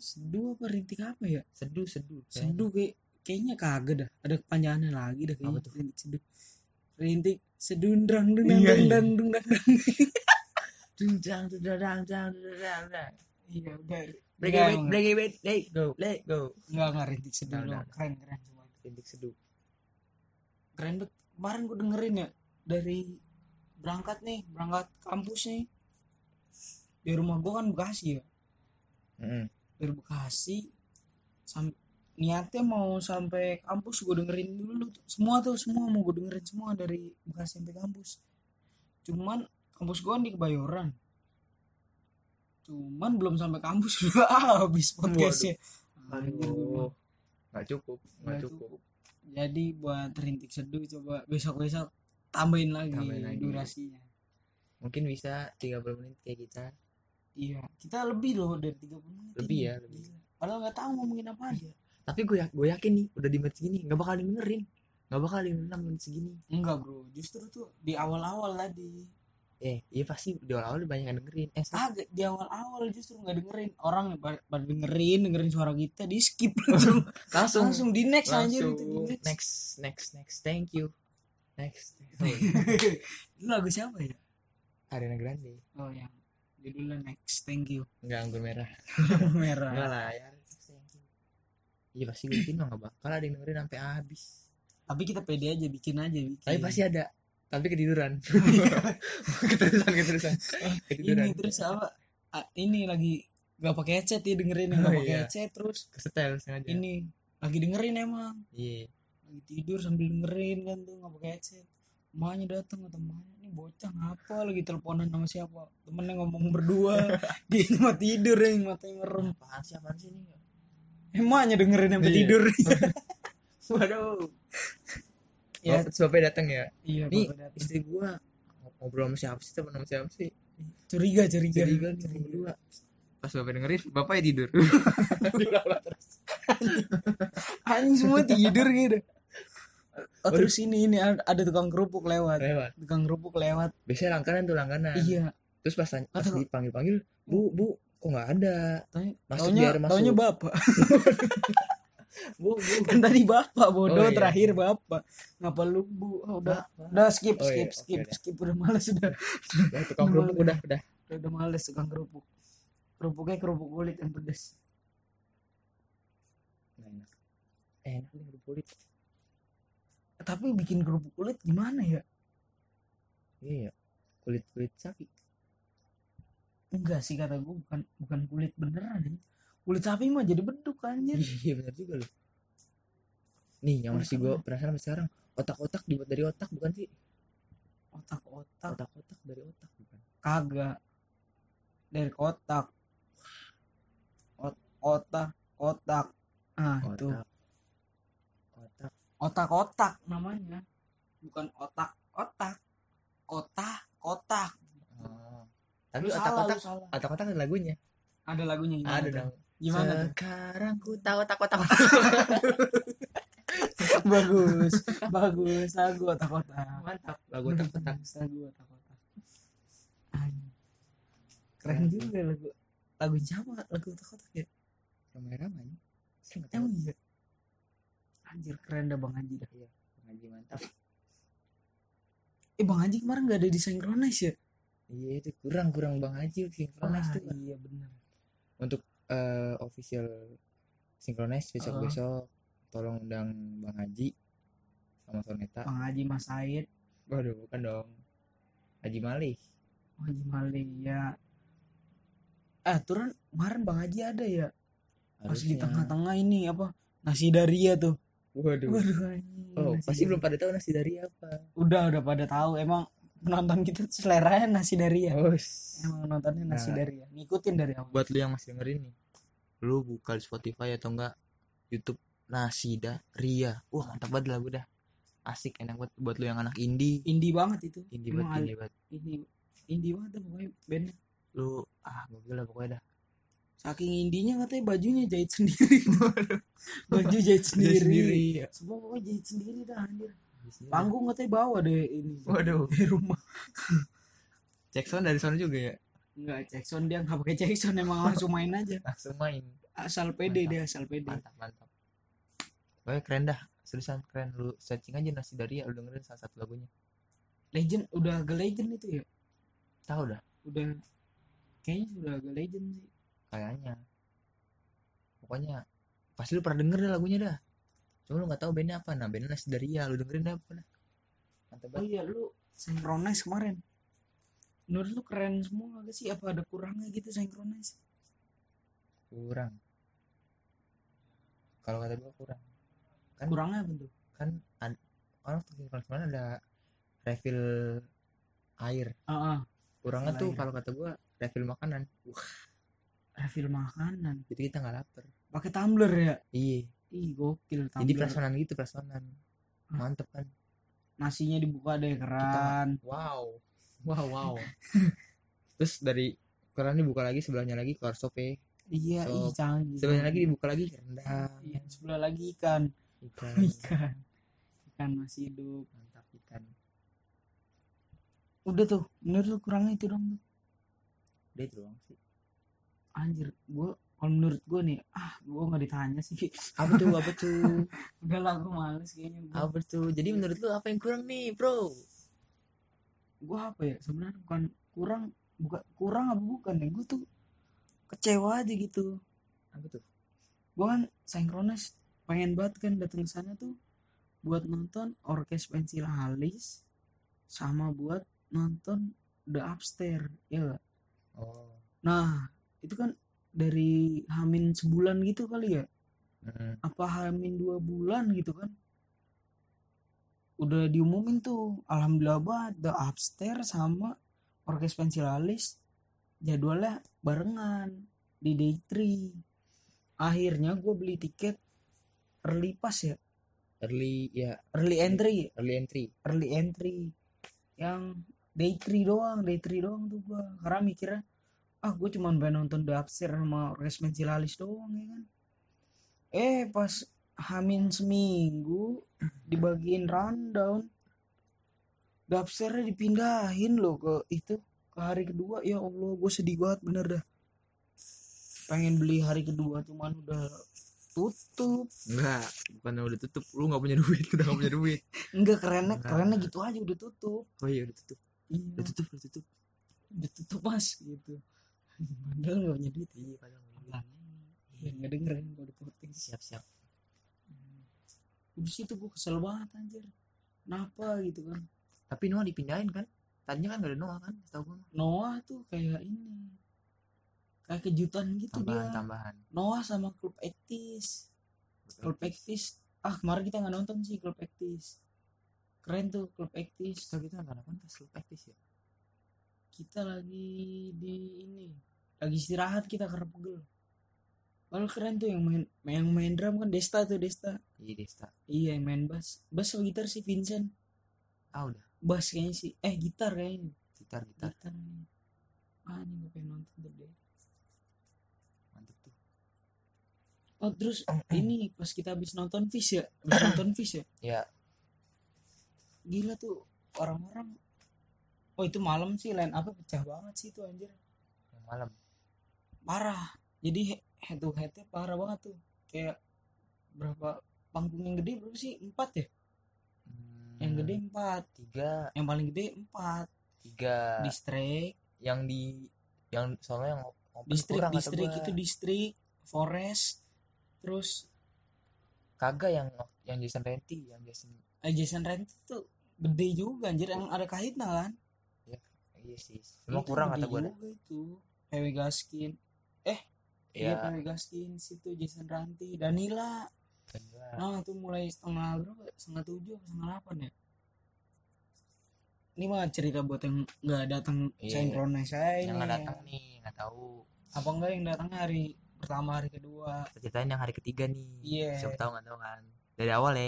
S2: seduh apa rintik apa ya
S1: Seduh, seduh. Kayak-
S2: seduh kayak kayaknya kagak dah ada kepanjangannya lagi dah kayaknya
S1: Apa tuh?
S2: rintik seduh rintik sedundrang dundang
S1: Iya, iya.
S2: dundang dundang dundang.
S1: Dung, dang, dung, dang, dang, dang, dung, dang, dang.
S2: iya udah
S1: Break it,
S2: Enggak,
S1: wait,
S2: enggak.
S1: break it, wait, let go, let go.
S2: enggak enggak rintik seduh
S1: Enggak,
S2: doang.
S1: enggak.
S2: keren keren semua itu.
S1: Rintik seduh.
S2: keren banget kemarin gue dengerin ya dari berangkat nih berangkat kampus nih di rumah gue kan bekasi ya
S1: Heeh.
S2: dari Bekasi sam niatnya mau sampai kampus gue dengerin dulu tuh. semua tuh semua mau gue dengerin semua dari Bekasi sampai kampus cuman kampus gue di Kebayoran cuman belum sampai kampus udah (laughs) habis podcastnya Anjir, gua bilang.
S1: Aduh. Nggak cukup, nggak
S2: Nggak
S1: cukup.
S2: jadi buat rintik seduh coba besok besok tambahin lagi,
S1: Tambahin lagi. ya.
S2: durasinya
S1: Mungkin bisa 30 menit kayak kita.
S2: iya kita lebih loh dari 30 menit
S1: Lebih
S2: ini.
S1: ya, lebih.
S2: Gila. padahal nggak tahu ngomongin apa aja
S1: Tapi gue ya- gue yakin nih udah di menit segini nggak bakal dengerin. Nggak bakal dengerin menit segini.
S2: enggak bro justru tuh di awal-awal tadi
S1: Eh, iya pasti di awal-awal banyak yang dengerin. Eh, sa-
S2: kagak Ah, di awal-awal justru nggak dengerin orang yang pada pada dengerin dengerin suara kita di skip (laughs) langsung
S1: langsung
S2: langsung di next anjir
S1: langsung
S2: itu di next, (laughs)
S1: next next next thank you next Oh, iya.
S2: Itu lagu siapa ya
S1: Ariana Grande
S2: oh yang judulnya next thank you
S1: enggak anggur merah enggak
S2: (laughs) merah
S1: lah ya thank you iya pasti gue yakin mah nggak bakal ada yang dengerin sampai habis
S2: tapi kita pede aja bikin aja bikin
S1: tapi pasti ada tapi (laughs) ketiduran keterusan keterusan ketiduran
S2: ini terus apa ah, ini lagi nggak pakai headset ya dengerin nggak
S1: Oh,
S2: pakai
S1: iya.
S2: headset terus
S1: kesetel sengaja
S2: ini lagi dengerin emang
S1: iya
S2: lagi tidur sambil dengerin kan tuh nggak pakai headset emaknya datang ke temannya ini bocah ngapa lagi teleponan sama siapa temennya ngomong (laughs) berdua dia cuma tidur yang matanya merem
S1: apaan sih apaan sih ini
S2: emaknya dengerin sampai
S1: Iya.
S2: (laughs) tidur
S1: waduh
S2: ya
S1: ya sebabnya datang ya
S2: iya
S1: ini
S2: bapak datang.
S1: istri gua ngobrol sama siapa sih teman sama siapa sih
S2: curiga curiga
S1: curiga nih sama berdua Iya. pas bapak dengerin bapaknya (laughs) tidur
S2: anjing semua tidur gitu oh,
S1: Waduh.
S2: terus ini ini ada ada tukang kerupuk lewat
S1: lewat
S2: tukang kerupuk lewat
S1: biasanya langganan tuh langganan
S2: iya
S1: terus pas, tanya- pas
S2: Atau-
S1: dipanggil panggil bu bu kok nggak (laughs) ada
S2: taunya
S1: Masuk,
S2: taunya-
S1: biar masuk.
S2: taunya bapak
S1: (laughs) bu bu
S2: kan tadi bapak bodoh
S1: Oh, iya.
S2: terakhir bapak ngapa lu bu oh, udah
S1: udah
S2: udah skip
S1: Oh, iya.
S2: skip
S1: Oke,
S2: skip
S1: udah.
S2: skip udah males udah
S1: tukang kerupuk udah udah
S2: udah males tukang kerupuk kerupuknya kerupuk kulit yang pedas
S1: Nggak enak eh, enak nih kerupuk kulit
S2: tapi bikin kerupuk kulit gimana ya
S1: iya ya kulit kulit sapi
S2: enggak sih kata gue bukan bukan kulit beneran ya. kulit sapi mah jadi beduk anjir
S1: (laughs) iya benar juga loh nih yang masih gue penasaran sampai sekarang otak-otak dibuat dari otak bukan sih
S2: otak-otak
S1: otak-otak dari otak bukan
S2: Ah, kagak dari kotak Ot- otak otak ah itu
S1: otak otak
S2: otak-otak namanya bukan otak-otak kotak-kotak
S1: oh. tapi
S2: Lu salah,
S1: otak-otak
S2: lu salah.
S1: otak-otak ada lagunya
S2: ada lagunya gimana
S1: ada
S2: tuh?
S1: dong
S2: gimana tuh?
S1: sekarang ku tahu otak-otak
S2: (laughs) bagus bagus lagu otak-otak
S1: mantap lagu otak-otak
S2: Bagus, lagu otak-otak Anjing. keren juga lagu lagu Jawa lagu otak-otak ya
S1: ramai-ramai saya nggak tahu
S2: emang iya anjir keren dah Bang Haji dah
S1: ngaji
S2: iya?
S1: mantap
S2: eh Bang Haji kemarin nggak ada di Synchronize ya
S1: iya itu kurang kurang bang Haji sinkronis
S2: Wah,
S1: tuh
S2: iya bener
S1: untuk eh, official sinkronis besok besok tolong undang bang Haji sama Soneta
S2: Bang Haji Mas Said
S1: waduh bukan dong Haji Malih
S2: Haji Malaya. Ah, turun kemarin Bang Haji ada ya. Pas
S1: Harusnya.
S2: di tengah-tengah ini apa? Nasi Daria tuh.
S1: waduh
S2: Waduh anjing.
S1: oh
S2: nasi
S1: pasti
S2: Daria.
S1: belum pada tahu nasi dari apa
S2: Udah udah pada tahu emang penonton kita seleranya nasi Daria.
S1: oh
S2: Emang nontonnya nasi
S1: Nah.
S2: Daria. Ngikutin dari awal.
S1: buat lu yang masih dengerin nih lu buka di Spotify atau enggak YouTube Nasida Ria wah mantap banget lagu dah asik enak banget buat lu yang anak indie
S2: Indie banget itu.
S1: indie banget
S2: Emang ada-
S1: indie banget
S2: Ini indie banget tuh pokoknya bandnya.
S1: lu ah gokil lah pokoknya dah
S2: Saking indinya katanya bajunya jahit sendiri. (laughs) Baju jahit sendiri.
S1: sendiri ya.
S2: Semua pokoknya jahit sendiri dah anjir. Panggung katanya bawa deh ini.
S1: waduh
S2: Dari rumah.
S1: cek sound dari sana juga ya
S2: Enggak, Jackson dia nggak pakai Jackson emang langsung main aja.
S1: langsung main
S2: Asal pede
S1: Mantap.
S2: dia, asal pede.
S1: mantap mantap pokoknya keren dah seriusan keren lu searching aja Nasida Ria lu dengerin salah satu lagunya
S2: Legend udah agak legend itu ya.
S1: tahu dah
S2: Udah kayaknya udah agak legend sih.
S1: kayaknya pokoknya pasti lu pernah denger dah lagunya dah cuma lu nggak tahu bandnya apa nah bandnya Nasida Ria lu dengerin dah pernah mantap
S2: Oh
S1: banget
S2: iya, lu synchronize kemarin. Menurut lu keren semua gak sih? Apa ada kurangnya gitu synchronize?
S1: kurang kalau kata gua kurang Kan-
S2: Kurangnya apa tuh?
S1: kan ad- orang tuh kemarin ada refill air
S2: Ah, ah,
S1: kurangnya
S2: Refill
S1: tuh
S2: air.
S1: kalau kata gua refill makanan Wah,
S2: refill makanan.
S1: jadi kita nggak lapar
S2: Pakai tumbler ya?
S1: iya
S2: Ih,
S1: jadi
S2: gokil tumbler.
S1: pelasonan gitu pelasonan
S2: Hah?
S1: mantep kan
S2: Nasinya dibuka deh keran.
S1: wow wow (laughs) wow terus dari kerannya dibuka lagi sebelahnya lagi keluar sop ya.
S2: Iya, ih
S1: Sop.
S2: canggih.
S1: sebelahnya lagi dibuka lagi kan? rendang
S2: Iya, sebelah lagi ikan.
S1: ikan
S2: Ikan. Ikan masih hidup.
S1: mantap ikan
S2: udah tuh menurut lu kurangnya itu dong
S1: udah itu doang sih
S2: anjir gue kalau menurut gue nih ah gue nggak ditanya sih (laughs)
S1: apa tuh apa tuh (laughs)
S2: udah lah gue males kayaknya gue
S1: apa tuh jadi menurut lu apa yang kurang nih bro
S2: apa ya sebenarnya bukan kurang bukan kurang apa bukan ya gue tuh kecewa aja gitu
S1: apa tuh
S2: gue kan synchronize pengen banget kan datang ke sana tuh buat nonton orkes pensil halis sama buat nonton the upstairs ya nggak?
S1: oh
S2: nah itu kan dari hamin sebulan gitu kali ya
S1: Mm.
S2: apa hamin dua bulan gitu kan udah diumumin tuh alhamdulillah banget the upstairs sama orkes pensilalis jadwalnya barengan di day 3 akhirnya gue beli tiket early pass ya
S1: early ya
S2: early entry
S1: early entry
S2: early entry yang day 3 doang day 3 doang tuh gue karena mikirnya ah gue cuman pengen nonton The Upstairs sama Resmen Cilalis doang ya kan eh pas hamin seminggu dibagiin rundown The Upstairs-nya dipindahin loh ke itu ke hari kedua ya Allah gue sedih banget bener dah pengen beli hari kedua cuman udah tutup
S1: enggak bukan udah tutup lu nggak punya duit (laughs) udah nggak punya duit
S2: enggak kerennya
S1: Enggak.
S2: kerennya gitu aja udah tutup
S1: oh iya udah tutup
S2: iya
S1: udah tutup udah tutup
S2: ditutup mas gitu Padahal nggak punya duit iya.
S1: padahal nggak punya duit.
S2: Bang. Iya, nggak denger kan kalau di podcast.
S1: siap-siap
S2: Hmm. Di situ gue kesel banget anjir. Kenapa gitu kan?
S1: tapi Noah dipindahin kan tadinya kan gak ada Noah kan setahu gue mah.
S2: Noah tuh kayak ini. Kayak kejutan gitu
S1: tambahan
S2: dia.
S1: tambahan
S2: Noah sama klub Ektis. Klub Ektis. Ah, kemarin kita nggak nonton sih klub Ektis. Keren tuh klub Ektis.
S1: setahu kita nggak kan pas lu praktis ya
S2: Kita lagi di ini. Lagi istirahat kita karena pegel. Lalu keren tuh yang main yang main drum kan Desta tuh Desta.
S1: iya Desta
S2: Iya, yang main bass. Bass atau gitar sih Vincent.
S1: ah udah
S2: Bass kayaknya sih. Eh, gitar kayaknya.
S1: gitar gitar
S2: Gitar. nih. Ah, ini gue pengen nonton tuh deh. Iya.
S1: mantep tuh
S2: Oh, terus ini pas kita habis nonton Fish ya. Habis nonton Fish ya.
S1: ya
S2: gila tuh orang-orang oh itu malam sih line apa pecah banget sih itu anjir
S1: yang malam
S2: parah jadi he- head to headnya parah banget tuh kayak berapa panggung yang gede berapa sih empat ya
S1: Hmm,
S2: yang gede empat
S1: tiga
S2: yang paling gede empat
S1: tiga
S2: distrik
S1: yang di yang soalnya yang open
S2: distrik
S1: kurang kata
S2: distrik
S1: gua.
S2: itu distrik forest terus
S1: kagak yang yang Jason Renti yang Jason
S2: adjacent rent itu gede juga anjir yang ada kahitna kan
S1: iya sih cuma
S2: Itu
S1: kurang kata
S2: gede
S1: gue
S2: juga itu Pewe Gaskin eh
S1: ya
S2: iya Pewe Gaskin situ Jason Ranti Danila
S1: kedua.
S2: Nah itu mulai setengah berapa? Setengah tujuh apa setengah delapan ya? Ini mah cerita buat yang nggak datang
S1: Iya.
S2: sinkronis saya
S1: yang nggak
S2: ini.
S1: datang nih nggak tahu
S2: Apa enggak yang datang hari pertama hari kedua?
S1: Kita ceritain yang hari ketiga nih
S2: Iya.
S1: siapa tahu nggak tahu kan dari awal ya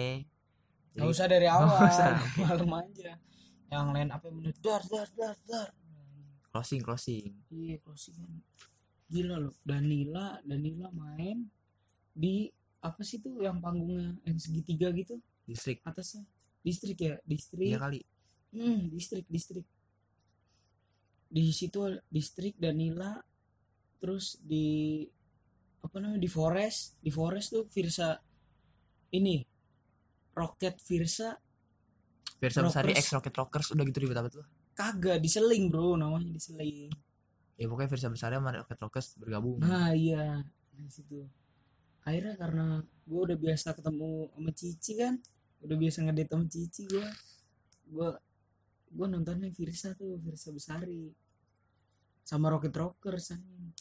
S1: Jadi-
S2: Nggak usah dari awal,
S1: Nggak usah, oke.
S2: (laughs) malam aja. Yang lain apa yang bener dar dar dar dar.
S1: closing closing
S2: Iya closingan. Gila loh, Danila Danila main di apa sih tuh yang panggungnya yang segitiga gitu
S1: listrik
S2: atasnya distrik ya distrik
S1: iya kali
S2: Hmm, distrik, distrik. Di situ distrik Danila, terus di apa namanya di Forest, di Forest tuh Virsa ini Roket Virsa
S1: Pirsa Besari
S2: Rockers.
S1: X Rocket Rockers udah gitu ribet apa tuh
S2: kagak diseling bro namanya diseling.
S1: ya pokoknya Pirsa Besari sama Rocket Rockers bergabung
S2: Nah iya di situ. Akhirnya karena gue udah biasa ketemu sama Cici kan, udah biasa ngedate sama Cici gue, gue gue nontonnya Virsa tuh Virsa Besari sama Rocket Rockers anjing.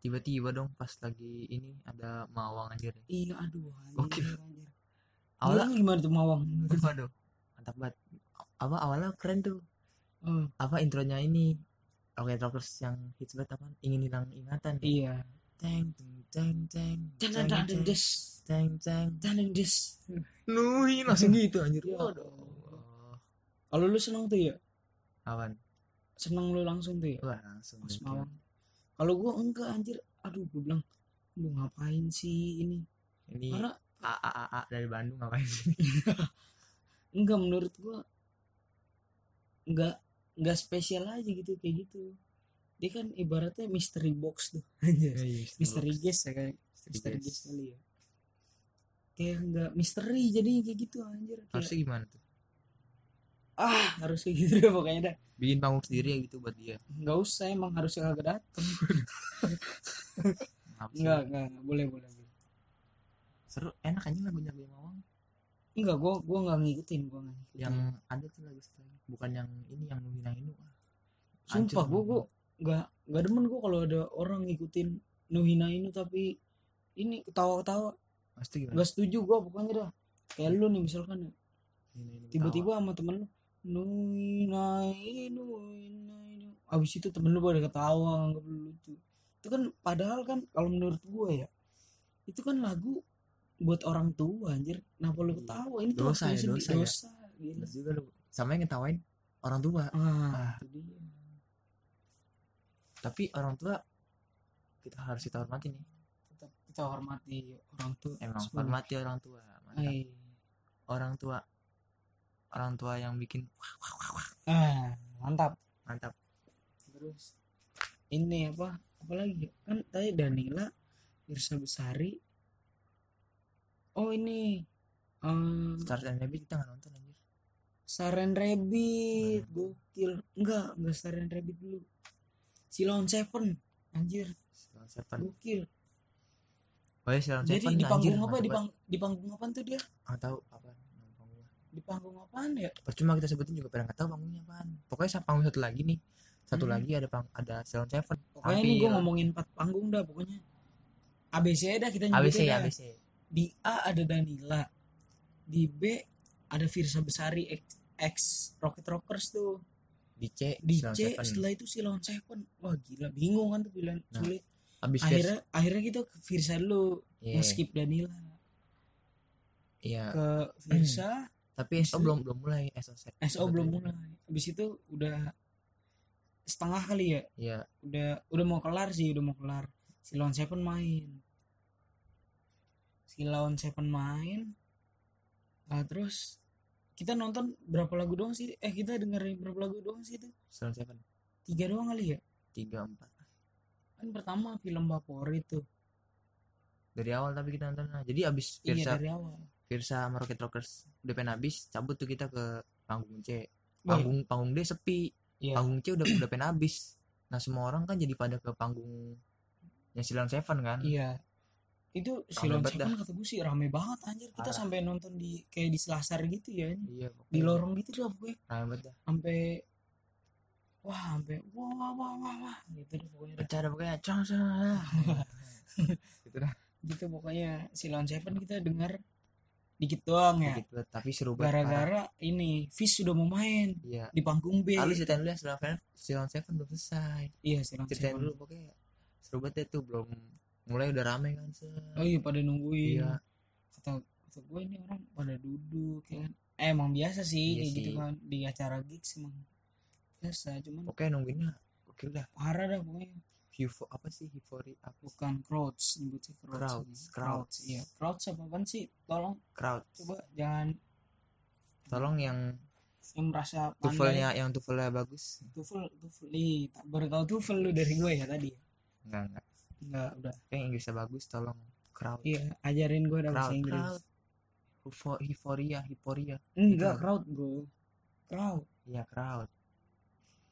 S1: tiba-tiba dong pas lagi ini ada Mawang anjir
S2: Iya, aduh,
S1: Gokil.
S2: anjir, anjir. Awalnya
S1: awalnya
S2: gimana tuh Mawang?
S1: waduh mantap banget apa awalnya keren tuh Hmm.
S2: Oh,
S1: apa intronya ini Rocket Rockers yang hits banget apa ingin hilang ingatan ya?
S2: iya.
S1: Teng teng teng
S2: Dan dan dan dan des,
S1: teng teng
S2: dan dan des.
S1: Nuhin langsung gitu anjir.
S2: Ya
S1: Waduh.
S2: Kalau lu seneng tuh ya,
S1: Awan.
S2: seneng lu langsung tuh ya,
S1: Wah, langsung.
S2: Mas
S1: gitu.
S2: Mawang. Kalau gua enggak anjir, aduh gua bilang, lu ngapain sih ini?
S1: Ini
S2: Karena
S1: A A A, A dari Bandung ngapain sih?
S2: enggak menurut gua enggak enggak spesial aja gitu kayak gitu. Dia kan ibaratnya mystery box tuh. (laughs) Anjir. misteri guest ya kayak misteri
S1: guest.
S2: guest kali ya kayak nggak misteri jadinya kayak gitu anjir kayak,
S1: Harusnya gimana tuh?
S2: ah harus kayak (laughs) gitu deh pokoknya dah
S1: Bikin panggung sendiri ya gitu buat dia.
S2: nggak usah emang harusnya kagak dateng
S1: Iya. Ngapain sih?
S2: nggak nggak nggak, boleh boleh boleh.
S1: Seru, enak aja lagunya Bang Mawang.
S2: nggak gua gua nggak ngikutin gua nggak ngikutin.
S1: Yang ada tuh lagu setelahnya. Bukan yang ini yang Ah, Nuhin yang ini. Wah, hancur.
S2: sumpah gua gua nggak nggak demen gua kalau ada orang ngikutin Nuhina ini tapi ini ketawa-ketawa
S1: Hmm. Pasti gimana?
S2: nggak setuju gua pokoknya dah kayak lu nih misalkan ya,
S1: Nuhin Ainu
S2: tiba-tiba sama temen lu nuinai nuinai abis itu temen lu pada ketawa nggak lucu itu kan padahal kan kalau menurut gue ya itu kan lagu buat orang tua anjir kenapa lu
S1: Iya.
S2: ketawa ini tuh
S1: Dosa
S2: waktunya
S1: ya,
S2: sedih.
S1: dosa ya.
S2: dosa
S1: ketawa.
S2: gila.
S1: Bener juga lu. Sama yang ngetawain orang tua.
S2: ah, itu dia.
S1: Tapi orang tua kita harus kita hormati nih.
S2: tetap kita hormati orang tua
S1: Emang
S2: Semua.
S1: hormati orang tua. Mantap.
S2: Ay.
S1: orang tua orang tua yang bikin wah, wah, wah, wah.
S2: ah mantap
S1: mantap
S2: terus ini apa apalagi ya? kan tadi Danila Irsa Besari oh ini eh
S1: Stars and Rabbit kita nggak nonton anjir
S2: Saren Rabbit
S1: Hmm.
S2: gokil enggak enggak Saren Rabbit dulu Silon Seven anjir
S1: Silon Seven
S2: gokil
S1: oh ya Silon
S2: Iya. jadi
S1: Seven
S2: di
S1: anjir,
S2: panggung apa
S1: nggak
S2: di,
S1: sempat-
S2: pang- di panggung apa tuh dia
S1: nggak tahu apa nama panggungnya.
S2: di panggung apaan ya
S1: percuma kita sebutin juga pada nggak tahu panggungnya apaan pokoknya sa- panggung satu lagi nih satu
S2: Hmm.
S1: lagi ada pang ada Silon Seven
S2: pokoknya ini gue
S1: Hampir.
S2: ngomongin empat panggung dah pokoknya ABC dah kita
S1: ABC
S2: nyebutin
S1: ya
S2: dah.
S1: ABC
S2: di A ada Danila di B ada Firsa Besari X, X Rocket Rockers tuh
S1: di C
S2: di
S1: Silon
S2: C
S1: Seven.
S2: setelah itu si Lawan Seven wah gila bingung kan tuh pilihan
S1: Nah,
S2: sulit
S1: abis
S2: akhirnya akhirnya kita ke Firsa dulu
S1: Iya,
S2: skip Danila
S1: iya. (clears throat)
S2: ke Firsa
S1: tapi SO
S2: Abis-
S1: belum belum mulai SO se-
S2: SO
S1: satu
S2: belum
S1: ini.
S2: mulai habis itu udah setengah kali ya
S1: iya
S2: udah udah mau kelar sih udah mau kelar si Lawan Seven main si Lawan Seven main Ah, terus kita nonton berapa lagu doang sih eh kita dengerin berapa lagu doang sih itu
S1: Silon Seven
S2: tiga doang kali ya
S1: tiga empat
S2: kan pertama film favorit tuh
S1: dari awal tapi kita nonton nah. jadi abis
S2: iya
S1: Firsa
S2: dari awal
S1: Firsa sama Rocket Rockers udah pengen habis cabut tuh kita ke panggung C
S2: Wah,
S1: panggung panggung D sepi
S2: Iya.
S1: panggung C udah udah pengen habis nah semua orang kan jadi pada ke panggung yang Silon Seven kan
S2: iya itu si
S1: Rame
S2: Lawan
S1: banget
S2: Seven kata gue sih rame banget anjir kita
S1: Parah.
S2: sampai nonton di kayak di selasar gitu ya
S1: iya
S2: di lorong gitu dah pokoknya
S1: rame banget dah.
S2: sampai wah sampai wah wah wah wah, wah gitu deh pokoknya dah.
S1: pecah dah pokoknya cong cong, ah. gitu dah
S2: gitu pokoknya si Lawn Seven kita dengar dikit doang ya
S1: gitu tapi seru banget parah.
S2: gara-gara ini Fish sudah mau main
S1: iya
S2: di panggung B
S1: Lalu ceritain dulu ya Silon Seven Silon Seven belum selesai
S2: iya si Lawn
S1: ceritain
S2: Seven
S1: dulu pokoknya seru banget deh tuh belum mulai udah rame kan set.
S2: oh iya pada nungguin
S1: Iya.
S2: kata kata gue ini orang pada duduk ya kan eh, emang biasa sih
S1: Iya
S2: kayak gitu
S1: sih.
S2: kan di acara gigs emang biasa cuman
S1: pokoknya nungguinnya oke udah
S2: parah dah pokoknya
S1: Hivo apa sih Hivori apa sih?
S2: bukan crowds nyebutnya crowds
S1: Crowds,
S2: ini.
S1: crowds.
S2: iya crowds apa apaan sih tolong
S1: crowd
S2: coba jangan
S1: tolong yang
S2: yang merasa pandai.
S1: tuvelnya yang tuvelnya bagus
S2: tufel tufel ih tak berkau tufel lu dari gue ya tadi
S1: enggak enggak
S2: enggak udah
S1: yang Inggrisnya bagus tolong crowd
S2: iya ajarin gue dah bahasa
S1: crowd
S2: Inggris
S1: crowd ya, Hivo- Hivoria Hivoria
S2: enggak
S1: Gitu.
S2: crowd bro crowd
S1: iya crowd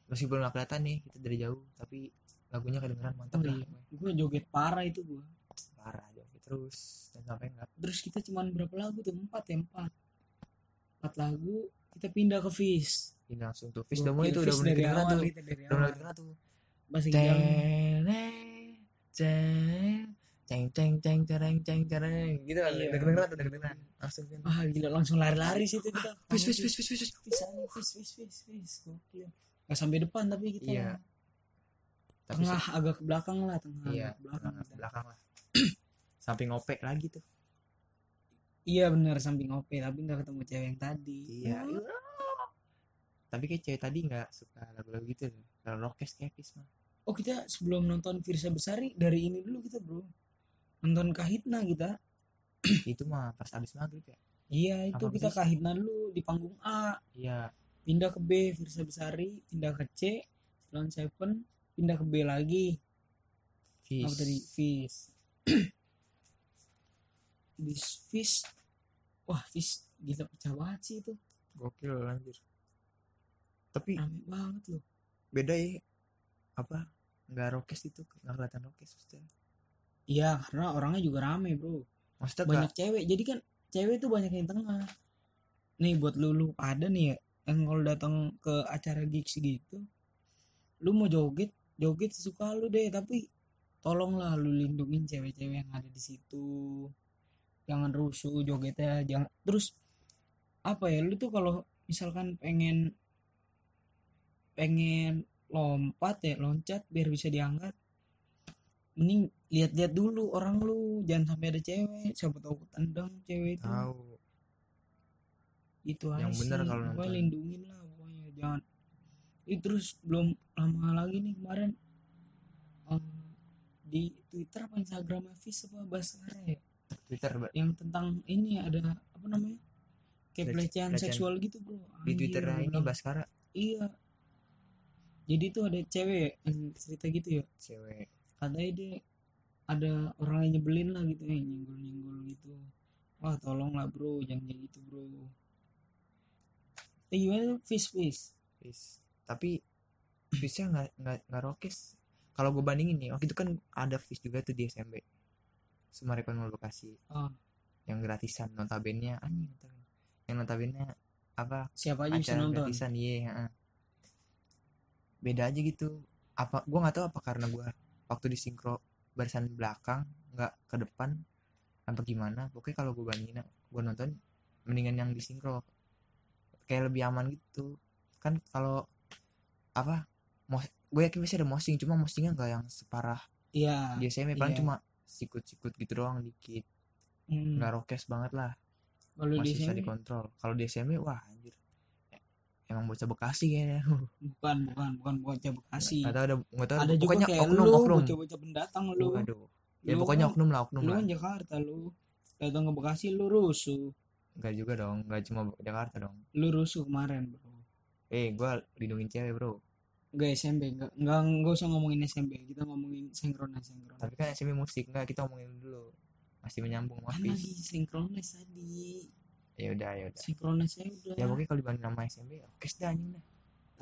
S1: meskipun nggak kelihatan nih kita dari jauh tapi lagunya kedengeran mantap
S2: Oh,
S1: lah
S2: iya. gue joget parah itu gue
S1: parah joget terus dan sampai nggak
S2: terus kita cuman berapa lagu tuh empat ya empat empat lagu kita pindah ke Fizz Iya,
S1: ini langsung tuh Fish udah mulai tuh udah mulai
S2: dari
S1: kedengeran
S2: awal
S1: tuh
S2: Iya. kita
S1: udah mulai
S2: dari awal
S1: kedengeran tuh
S2: bahasa Inggris
S1: Teneng, ceng, ceng, ceng, ceng, cereng, ceng, cereng. gitu kan
S2: Iya.
S1: udah kedengeran tuh udah kedengeran langsung kan
S2: ah gila langsung lari-lari sih itu kita
S1: Fis, fis, fis, fis, fis, fis.
S2: Fizz aja, Fizz Fizz Fizz Fizz gokil nggak sampai depan tapi kita
S1: Iya. tapi
S2: tengah
S1: sih,
S2: agak ke belakang lah tengah
S1: iya
S2: agak ke belakang
S1: tengah,
S2: kita.
S1: belakang lah (clears throat) sampai ngopek lagi tuh
S2: iya benar samping OP tapi nggak ketemu cewek yang tadi
S1: iya tapi kayak cewek tadi nggak suka lagu-lagu gitu deh. kalau rockes kayak Fis mah
S2: oh kita sebelum nonton Firsa Besari dari ini dulu kita bro nonton Kahitna kita
S1: itu mah pas abis maghrib ya
S2: iya itu
S1: Apa
S2: kita
S1: Fizz?
S2: Kahitna dulu di panggung A
S1: iya
S2: pindah ke B Firsa Besari pindah ke C Silon Seven pindah ke B lagi
S1: Fis
S2: apa tadi Fish (clears throat) bis Fish wah Fish gila pecah banget sih itu
S1: gokil anjir tapi
S2: rame banget loh
S1: beda ya apa nggak rockes itu nggak kelihatan rockes maksudnya
S2: iya karena orangnya juga rame bro
S1: maksudnya nggak-
S2: banyak cewek jadi kan cewek tuh banyak yang tengah nih buat lu lu ada nih ya yang kalau datang ke acara gigs gitu lu mau joget joget sesuka lu deh tapi tolonglah lu lindungin cewek-cewek yang ada di situ jangan rusuh jogetnya jangan terus apa ya lu tuh kalau misalkan pengen pengen lompat ya loncat biar bisa diangkat mending lihat-lihat dulu orang lu jangan sampai ada cewek siapa tahu tendang cewek itu
S1: tahu
S2: itu
S1: Yang
S2: aja
S1: bener
S2: sih.
S1: kalau
S2: Pokoknya
S1: nonton.
S2: lindungin lah pokoknya jangan itu terus belum lama lagi nih kemarin em, di Twitter apa Instagram Fis apa Baskara ya
S1: Twitter Mbak.
S2: yang tentang ini ada apa namanya kayak
S1: Pelece-
S2: pelecehan
S1: pelecehan.
S2: seksual gitu bro
S1: di
S2: Anjir,
S1: Twitter
S2: gua
S1: ini
S2: bilang,
S1: Baskara
S2: iya jadi tuh ada cewek ya yang cerita gitu ya
S1: cewek
S2: katanya dia ada orang yang nyebelin lah gitu yang nyinggol nyinggol gitu wah tolong lah bro jangan kayak gitu bro eh, gimana tuh fish fish
S1: Fis. tapi bisa nggak nggak nggak rokes kalau gue bandingin nih waktu itu kan ada fish juga tuh di SMB Sumarekon Mall Bekasi
S2: Ah.
S1: yang gratisan notabene anjing notabene. yang notabene apa
S2: siapa aja bisa
S1: acara
S2: nonton
S1: gratisan iya heeh. beda aja gitu apa gue nggak tahu apa karena gue waktu di sinkro barisan belakang nggak ke depan apa gimana pokoknya kalau gue bandingin gue nonton mendingan yang di sinkro kayak lebih aman gitu kan kalau apa gue yakin pasti ada mosing cuma mosingnya nggak yang separah
S2: iya
S1: di SMA paling
S2: iya.
S1: cuma sikut-sikut gitu doang dikit
S2: Hmm.
S1: nggak rokes banget lah
S2: kalau di
S1: masih bisa
S2: sini
S1: dikontrol kalau di SMA wah anjir emang bocah Bekasi kayaknya (laughs)
S2: bukan bukan bukan bocah bekasi
S1: Nggak tahu ada nggak tahu
S2: ada juga
S1: pokoknya
S2: kayak
S1: oknum
S2: lu
S1: oknum
S2: bocah-bocah pendatang lu
S1: aduh ya
S2: Lu
S1: pokoknya
S2: kan-
S1: oknum lah oknum
S2: lu
S1: lah
S2: kan Jakarta lu datang ke Bekasi lu rusuh
S1: nggak juga dong nggak cuma Jakarta dong
S2: lu rusuh kemarin bro
S1: eh gue lindungin cewek bro
S2: Enggak SMP enggak enggak enggak usah ngomongin SMP kita ngomongin sinkronis sinkronis
S1: tapi kan SMA musik nggak kita ngomongin dulu masih menyambung
S2: kan
S1: maafis
S2: lagi sinkronis tadi
S1: ya udah ya udah
S2: sinkronis saya udah
S1: ya pokoknya kalau dibanding sama SMA oke sih dah anjing dah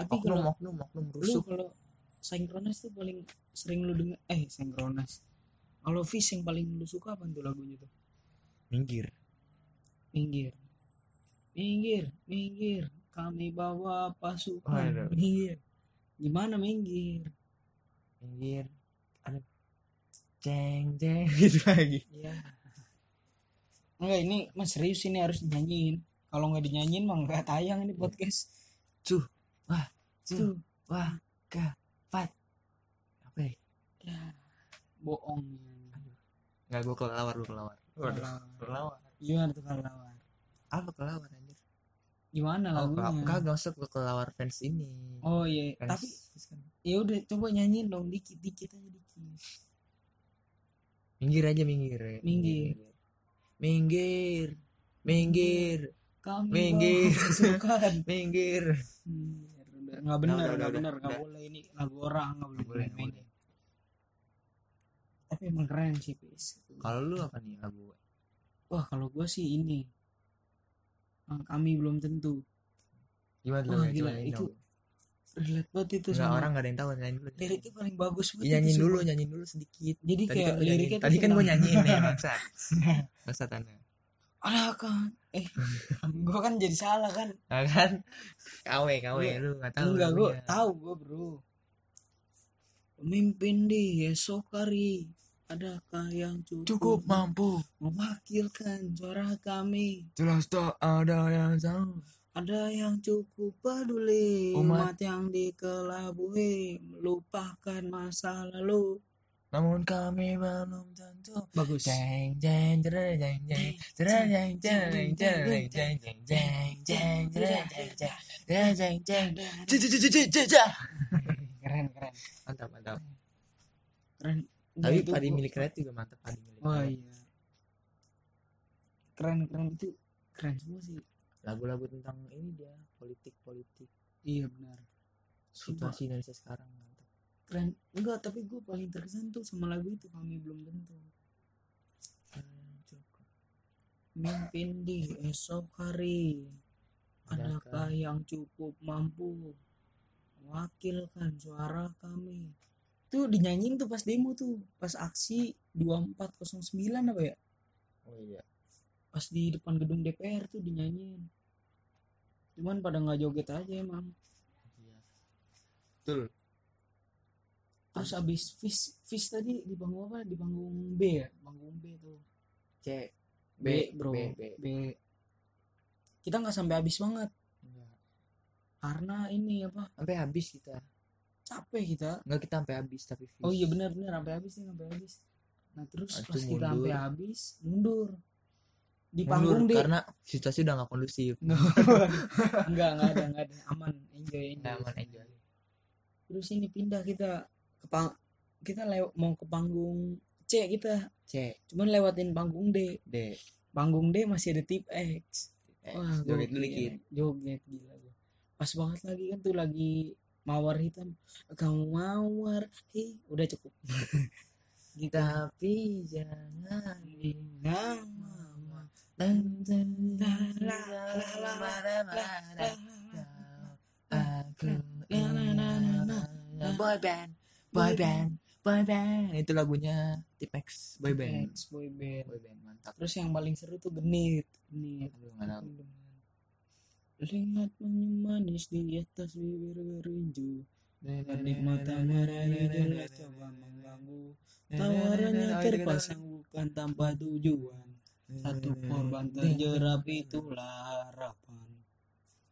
S2: tapi
S1: oknum
S2: kalau
S1: oknum oknum
S2: lu
S1: rusuk
S2: kalau sinkronis tuh paling sering lu dengar eh sinkronis kalau fish yang paling lu suka apa tuh lagunya tuh
S1: minggir
S2: minggir minggir minggir kami bawa pasukan
S1: Waduh.
S2: minggir gimana minggir
S1: minggir aduh ceng ceng (laughs) gitu lagi
S2: Iya. Enggak ini mas serius ini harus dinyanyiin. Kalau nggak dinyanyiin mah nggak tayang ini podcast.
S1: Cuh, wah,
S2: Tuh,
S1: cuh, wah, ka, pat. Apa ya?
S2: ya, bohong.
S1: Nggak, gue kelawar, gue kelawar.
S2: Kelawar.
S1: kelawar.
S2: Gimana tuh kelawar?
S1: Apa kelawar anjir?
S2: Gimana
S1: Oh,
S2: lagunya?
S1: ka- kagak masuk gue kelawar fans ini.
S2: Oh iya,
S1: Fans-
S2: tapi ya udah coba nyanyiin dong dikit dikit aja dikit.
S1: minggir aja minggir.
S2: Minggir.
S1: Minggir. Minggir.
S2: Kami
S1: Minggir.
S2: bawa pasukan.
S1: Minggir.
S2: Minggir. Iya, Udah, Nggak benar,
S1: udah,
S2: nggak
S1: udah,
S2: benar,
S1: udah.
S2: nggak boleh ini lagu orang nggak boleh
S1: Nggak boleh, nggak
S2: dimainin. Tapi emang keren sih, Pis.
S1: Kalau lu apa nih lagu?
S2: Wah kalau gue sih ini Ah, kami belum tentu
S1: Gimana
S2: Wah,
S1: lu? Coba
S2: gila,
S1: nyanyiin
S2: itu
S1: dong.
S2: relate banget itu
S1: Nggak,
S2: sama
S1: orang nggak ada yang tahu nyanyiin dulu.
S2: liriknya paling bagus banget
S1: Ya, nyanyiin
S2: itu,
S1: dulu,
S2: sumpah.
S1: nyanyiin dulu sedikit.
S2: jadi
S1: Tadi
S2: kayak
S1: kan, lu
S2: liriknya
S1: nyanyiin.
S2: tuh
S1: Tadi kan gue
S2: tentang-
S1: nyanyiin
S2: (laughs)
S1: nih, maksat. Maksat aneh.
S2: ada kan
S1: (laughs)
S2: eh gue kan jadi salah kan
S1: Nah, kan kawe kawe lu nggak tahu
S2: Iya.
S1: iya.
S2: enggak gue
S1: lagunya.
S2: tahu gue bro pemimpin di Sokari adakah yang cukup,
S1: cukup mampu
S2: mewakilkan suara kami
S1: jelas tak ada yang tahu
S2: Ada yang cukup peduli
S1: Umat.
S2: umat, yang dikelabui melupakan masa lalu.
S1: namun kami belum tentu
S2: Bagus.
S1: jeng jeng jeng jeng jeng jeng jeng jeng jeng jeng jeng jeng jeng jeng jeng jeng jeng jeng jeng Jeng, jeng, jeng, jeng, jeng, jeng, jeng.
S2: Keren keren.
S1: mantap mantap
S2: Keren.
S1: tapi
S2: Nah, itu
S1: padi
S2: gua-
S1: milik rakyat juga mantap padi milik
S2: Wah
S1: rakyat.
S2: iya. Keren keren itu keren semua sih.
S1: lagu-lagu tentang ini dia politik politik
S2: Iya benar. Sumpah.
S1: situasi Indonesia sekarang mantap
S2: Keren. Enggak tapi gue paling terkesan tuh sama lagu itu kami belum tentu.
S1: Hmm, cukup.
S2: Mimpin di esok hari Adakah
S1: Adakah-
S2: yang cukup mampu Wakilkan suara kami Tuh dinyanyiin tuh pas demo tuh Pas aksi 2409 apa ya
S1: oh iya
S2: Pas di depan gedung DPR tuh dinyanyiin Cuman pada nggak joget aja emang
S1: Iya. betul
S2: Terus abis fish, fish tadi di panggung apa? Di panggung B ya? Panggung B tuh
S1: C B
S2: B, bro
S1: B B
S2: B. Kita nggak sampai habis banget
S1: Enggak.
S2: Karena ini apa
S1: sampai habis kita
S2: Capek kita
S1: Enggak kita sampai habis tapi finish.
S2: Oh iya benar benar sampai habis nih sampai habis. Nah terus
S1: Habis itu
S2: pas kita
S1: mundur.
S2: sampai habis mundur di
S1: Mundur,
S2: panggung deh. (laughs)
S1: karena situasi udah nggak kondusif.
S2: Enggak enggak ada enggak ada aman enjoy enjoy.
S1: Nyaman aja.
S2: Terus ini pindah kita ke pang kita lewat mau ke panggung C kita
S1: C
S2: cuman lewatin panggung D.
S1: D
S2: Panggung D masih ada tip X.
S1: X.
S2: Wah,
S1: Joget
S2: gokil.
S1: dulu dikit.
S2: Joget gila gua. Pas banget lagi kan tuh lagi mawar hitam. Kamu mawar. hi udah cukup. gitu.
S1: Tapi jangan
S2: Indah mama.
S1: Aku ingin boy band, boy band, boy band itu lagunya Tipex boy band
S2: Thanks, boy band.
S1: boy band mantap
S2: Terus yang paling seru tuh genit. Genit.
S1: Aduh, nggak tahu.
S2: Lihat menu manis di atas bibir berinju Adik mata merah di jelas coba mengganggu Tawarannya
S1: Oh, iya,
S2: terpasang bukan tanpa tujuan Satu korban terjerap itulah harapan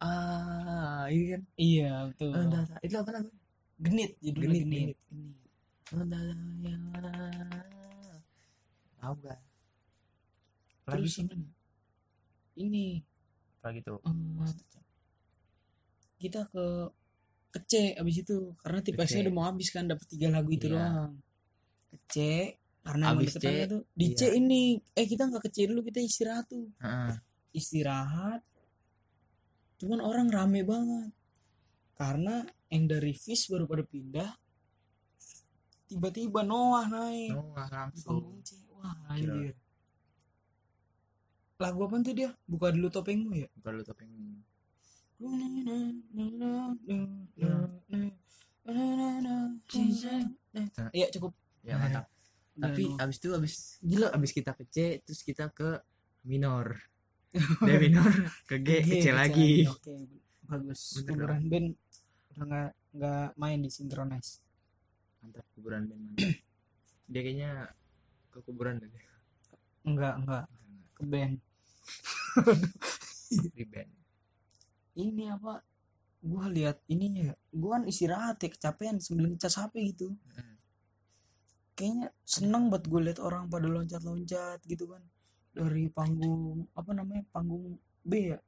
S1: ah iya kan
S2: Iya betul
S1: Entah, entah. itu apa namanya
S2: Genit judulnya
S1: Genit,
S2: genit, genit.
S1: Entah, entah. tahu gak lagi
S2: Terus
S1: sih
S2: ini- Ini
S1: lagi tuh
S2: em, kita ke ke C abis itu karena
S1: C.
S2: tipesnya udah mau habis kan dapat tiga lagu itu
S1: Iya.
S2: doang ke C karena emang
S1: Abis C,
S2: deketannya tuh di
S1: iya.
S2: C ini eh kita nggak ke C dulu kita istirahat tuh
S1: Heeh.
S2: istirahat cuman orang rame banget karena yang dari Fish baru pada pindah tiba-tiba Noah naik
S1: Oh, nggak
S2: di
S1: langsung
S2: panggung C wah
S1: Gila.
S2: anjir lagu apa tuh dia buka dulu topengmu ya
S1: bukan lu topeng
S2: Ya cukup.
S1: ya mantap tapi
S2: Tapi
S1: abis itu abis gila abis kita ke C terus kita ke (laughs) minor dari minor ke Oh, G ke C lagi
S2: Oke, bagus.
S1: Bener
S2: Kuburan band udah nggak nggak main di sinkronize.
S1: mantap kuburan band mantap dia kayaknya ke kuburan deh
S2: Enggak enggak ke band.
S1: di band
S2: Ini apa? Gua lihat ininya. Gua kan istirahat ya kecapean sambil ngecas HP gitu.
S1: Mm.
S2: Kayaknya seneng buat gue lihat orang pada loncat-loncat gitu kan. Dari panggung apa namanya? Panggung B ya.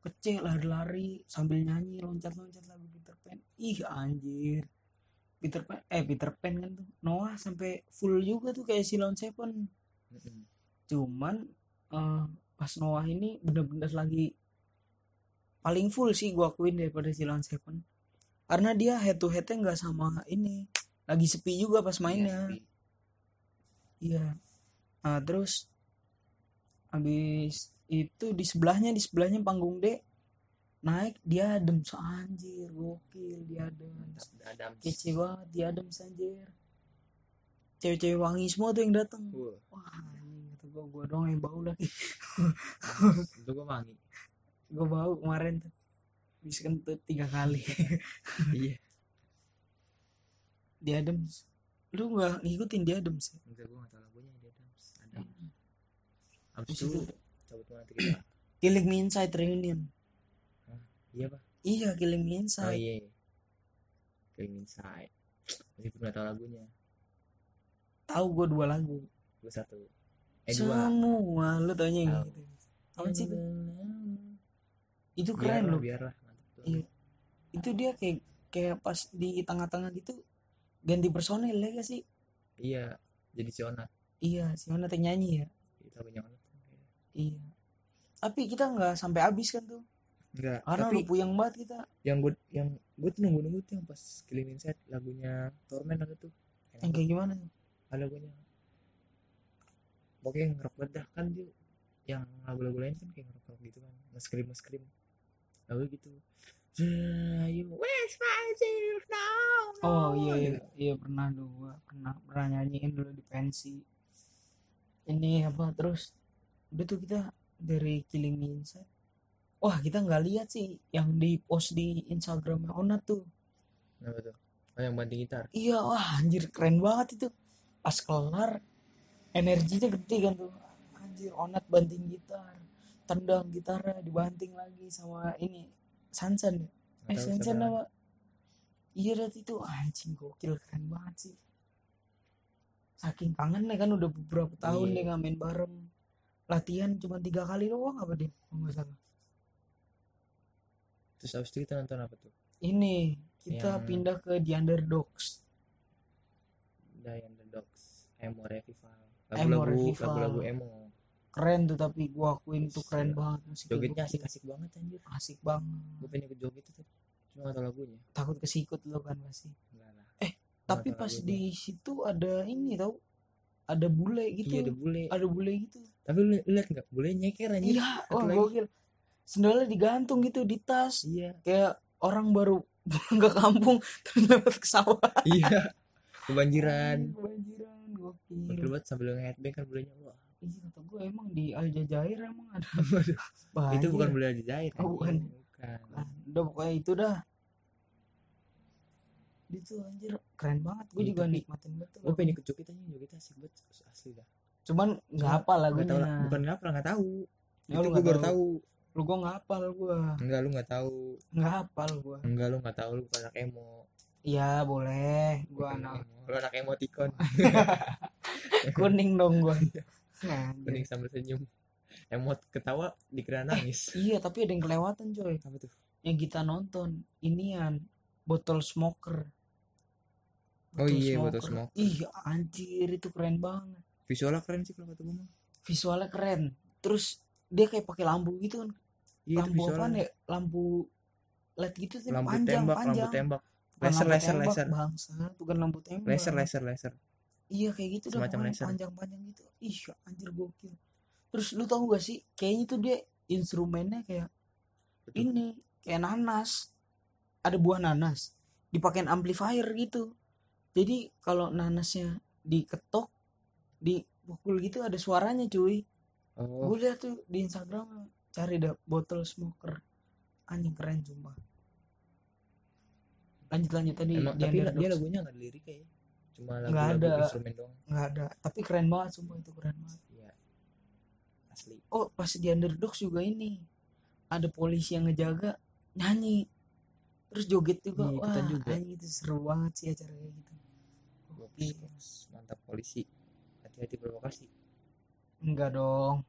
S2: Kecil lari-lari sambil nyanyi loncat-loncat lagu Peter Pan. Ih anjir. Peter Pan eh Peter Pan kan tuh. Noah sampai full juga tuh kayak Silon Seven.
S1: Mm-mm.
S2: cuman eh, pas Noah ini bener-bener lagi paling full sih gua akuin daripada Silent Seven karena dia head to headnya nggak sama ini lagi sepi juga pas mainnya
S1: Iya,
S2: iya nah terus habis itu di sebelahnya di sebelahnya panggung D naik dia adem anjir gokil dia adem
S1: mantap Adam
S2: kece banget dia adem anjir cewek-cewek wangi semua tuh yang datang
S1: Wah,
S2: wah ini kata gua gua doang yang bau lagi
S1: itu gue wangi
S2: gue bau kemarin tuh bisa kentut tiga
S1: (laughs)
S2: kali
S1: iya
S2: di Adams lu nggak ngikutin di Adams ya?
S1: enggak gue nggak tahu lagunya dia Adams Adam abis itu cabut mana tiga dua?
S2: Killing Me Inside reunion
S1: iya pak
S2: iya Killing Me
S1: oh
S2: Inside
S1: iya iya. Going Inside masih pernah tahu lagunya
S2: tahu gue dua lagu
S1: gue satu eh dua Iya,
S2: semua lu taunya yang
S1: Tahu.
S2: gitu apa sih itu itu keren
S1: biarlah
S2: loh
S1: biarlah mantap tuh.
S2: Iya. itu dia kayak kayak pas di tengah-tengah gitu ganti personel ya gak sih
S1: iya jadi si Onat
S2: iya si mana tuh nyanyi ya
S1: Jadi lagunya Onat tuh kayak-
S2: iya tapi kita nggak sampai habis kan tuh
S1: enggak
S2: karena
S1: tapi
S2: lu puyeng banget kita
S1: yang gue yang gue tuh nunggu nunggu tuh yang pas Killing Inside lagunya Torment ada tuh
S2: yang kayak gimana tuh?
S1: ada lagunya pokoknya yang rock banget dah kan dia yang lagu-lagu lain kan kayak rock rock gitu kan ngeskrim ngeskrim lagu gitu Yeah, you wish myself now
S2: Oh iya iya,
S1: ya?
S2: iya pernah dua pernah pernah nyanyiin dulu di pensi. Ini apa terus udah tuh kita dari Killing Me Inside. Wah kita nggak lihat sih yang di post di Instagramnya Ona tuh.
S1: Kenapa tuh? Oh, yang banting gitar
S2: Iya wah anjir keren banget itu. Pas kelar energinya gede kan tuh. Anjir Onat banting gitar, tendang gitarnya dibanting lagi sama ini Sansan ya.
S1: Nggak
S2: Eh
S1: tahu
S2: Shenzhen
S1: siapa.
S2: apa? Iya Rat, itu anjing gokil keren banget sih. Saking kangennya kan udah beberapa tahun
S1: Iya.
S2: dia ngamen bareng. Latihan cuma tiga kali doang apa dia? Kalau nggak salah.
S1: terus abis itu kita nonton apa tuh
S2: Ini kita
S1: Yang-
S2: pindah ke The Underdogs.
S1: Die and the Dogs Emo
S2: Eh,
S1: Revival
S2: Emo
S1: lagu-lagu
S2: Revival.
S1: lagu-lagu emo
S2: Keren tuh tapi gua akuin tuh keren
S1: Iya.
S2: banget musiknya.
S1: jogetnya
S2: Gokil.
S1: asik asik banget anjir
S2: asik banget.
S1: gue pengen ikut joget itu cuma nggak tahu lagunya
S2: Takut kesikut lo kan pasti.
S1: enggak lah
S2: Eh,
S1: Nggak
S2: Tapi
S1: tahu
S2: pas
S1: lagunya.
S2: di situ ada ini tau ada bule gitu.
S1: iya ada bule
S2: ada bule gitu.
S1: tapi lu lu liat nggak bule nyeker anjir
S2: Iya,
S1: satu
S2: wah
S1: lagi.
S2: gokil. Sendalnya digantung gitu di tas.
S1: iya
S2: (laughs) Kayak orang baru pulang ke kampung terus lewat ke sawah.
S1: iya kebanjiran
S2: kebanjiran
S1: Gokil
S2: gokil
S1: banget sambil nge-headbang kan bulannya wah
S2: Ih, kata gue emang di Al Jazair emang
S1: (laughs)
S2: ada
S1: itu
S2: banjir.
S1: bukan bulan dijahit
S2: Oh, bukan.
S1: bukan
S2: Nah, udah pokoknya itu dah itu anjir keren banget gue
S1: Iya,
S2: juga
S1: tapi
S2: nikmatin banget tuh
S1: gue pengen ikut joget aja joget asik banget asli dah
S2: cuman nggak apa
S1: nggak
S2: lagunya
S1: tahu lah bukan nggak pernah nggak tahu
S2: Ya,
S1: itu
S2: lu
S1: gue
S2: nggak
S1: baru
S2: tahu.
S1: tahu
S2: lu gue nggak hafal gue
S1: enggak lu nggak tahu
S2: nggak hafal gue
S1: enggak lu nggak tahu lu bukan anak emo
S2: iya boleh gue
S1: Bukan
S2: anak
S1: emo. lu anak
S2: (laughs)
S1: emoticon
S2: kuning dong
S1: (laughs)
S2: gue
S1: Iya.
S2: nah,
S1: kuning sambil senyum emot ketawa dikira nangis
S2: iya tapi ada yang kelewatan coy
S1: apa tuh
S2: yang kita nonton inian botol smoker
S1: Oh iya, Botol Smoker.
S2: iya anjir itu keren banget
S1: visualnya keren sih kalau kata gue mah
S2: visualnya keren terus dia kayak pakai lampu gitu kan
S1: Iya, itu
S2: lampu apa
S1: visualnya.
S2: nih lampu led gitu sih
S1: lampu
S2: panjang
S1: tembak
S2: panjang
S1: lampu tembak
S2: Bukan
S1: laser
S2: lampu
S1: laser
S2: tembak,
S1: laser
S2: bangsa bukan lampu tembak
S1: laser laser laser
S2: iya kayak gitu dah
S1: Semacam
S2: pokoknya
S1: laser.
S2: panjang panjang gitu ih anjir gokil terus lu tau gak sih kayaknya tuh dia instrumennya kayak
S1: Betul.
S2: ini kayak nanas ada buah nanas dipakein amplifier gitu jadi kalau nanasnya diketok dipukul gitu ada suaranya cuy
S1: oh
S2: gue liat tuh di Instagram cari dah botol smoker anjing keren sumpah lanjut lanjut tadi
S1: emang
S2: di
S1: tapi
S2: Underdogs.
S1: dia lagunya nggak ada lirik kayaknya cuma
S2: Nggak
S1: lagu-lagu
S2: ada.
S1: instrumen doang
S2: nggak ada tapi keren banget sumpah itu keren banget
S1: iya asli
S2: oh pas di underdogs juga ini ada polisi yang ngejaga nyanyi terus joget juga
S1: Iya,
S2: wah
S1: ikutan juga.
S2: anjing itu seru banget sih acara kayak gitu
S1: Gokil. mantap polisi hati-hati provokasi
S2: enggak dong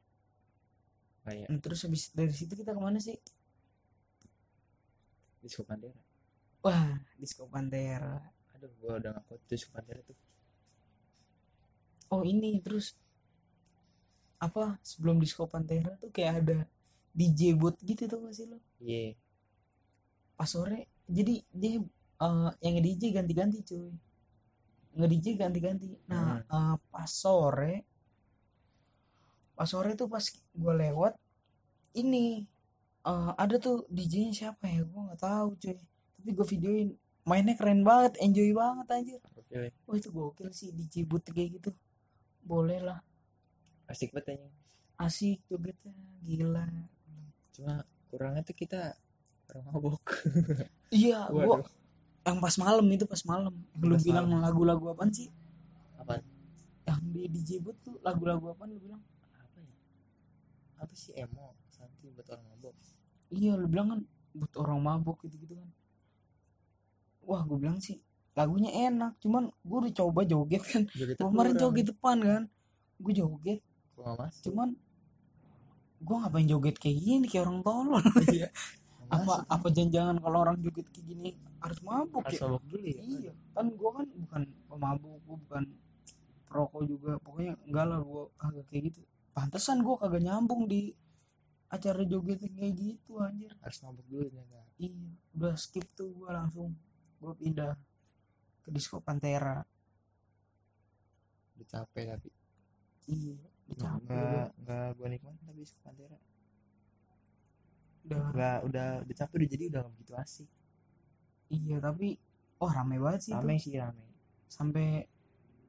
S1: kayak
S2: Nah, terus habis dari situ kita kemana sih
S1: disco pandera
S2: wah disco pantera
S1: aduh gua udah ngaku disco pandera tuh
S2: oh ini terus apa sebelum disco pantera tuh kayak ada DJ booth gitu tuh masih lo
S1: iya
S2: pas sore jadi dia eh, yang nge DJ ganti-ganti cuy nge DJ ganti-ganti nah
S1: Hmm.
S2: eh, pas sore pas sore tuh pas gue lewat ini eh, ada tuh DJ nya siapa ya gue nggak tahu cuy tapi gue videoin mainnya keren banget enjoy banget anjir
S1: oke weh.
S2: wah itu gokil sih DJ booth kayak gitu boleh lah
S1: asik banget anjing.
S2: asik jogetnya gila
S1: cuma kurangnya tuh kita orang mabok
S2: iya gue
S1: Waduh.
S2: yang pas malam itu pas malam yang lu
S1: Pas
S2: bilang lagu-lagu apaan sih
S1: apa
S2: yang di DJ booth tuh lagu-lagu apa lu bilang
S1: apa ya apa sih emo santai buat orang mabok
S2: iya lu bilang kan buat orang mabuk gitu gitu kan wah gue bilang sih lagunya enak cuman gue udah coba joget kan
S1: joget
S2: Gua kemarin joget depan kan gue joget
S1: gua nggak masuk
S2: cuman gue ngapain joget kayak gini kayak orang tolol
S1: Nggak
S2: (laughs) apa
S1: masuk.
S2: apa jangan kalau orang joget kayak gini harus mabuk
S1: harus
S2: ya
S1: mabok dulu ya
S2: iya kan gue kan bukan pemabuk gue bukan perokok juga pokoknya enggak lah gue agak kayak gitu pantesan gue kagak nyambung di acara joget kayak gitu anjir
S1: harus mabok dulu ternyata
S2: iya udah skip tuh gue langsung gue pindah ke disco pantera
S1: udah capek tapi
S2: iya udah capek
S1: nggak nggak gua nikmatin tapi disco pandera
S2: udah udah
S1: nggak udah udah capek udah jadi udah nggak begitu asik
S2: iya tapi oh rame banget sih
S1: rame
S2: itu
S1: sih rame
S2: sampai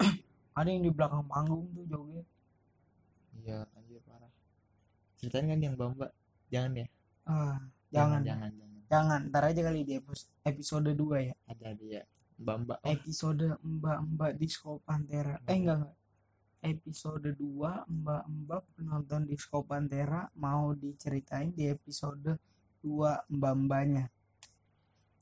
S2: (clears throat) ada yang di belakang panggung tuh joget
S1: iya anjir parah ceritain kan yang bamba jangan ya
S2: ah jangan jangan,
S1: jangan jangan
S2: ntar aja kali di epis- episode 2 ya
S1: ada dia bamba eh
S2: episode mbak-mbak disco pantera
S1: Iya.
S2: eh enggak enggak episode 2 mbak-mbak penonton disco pantera mau diceritain di episode 2 mbak-mbaknya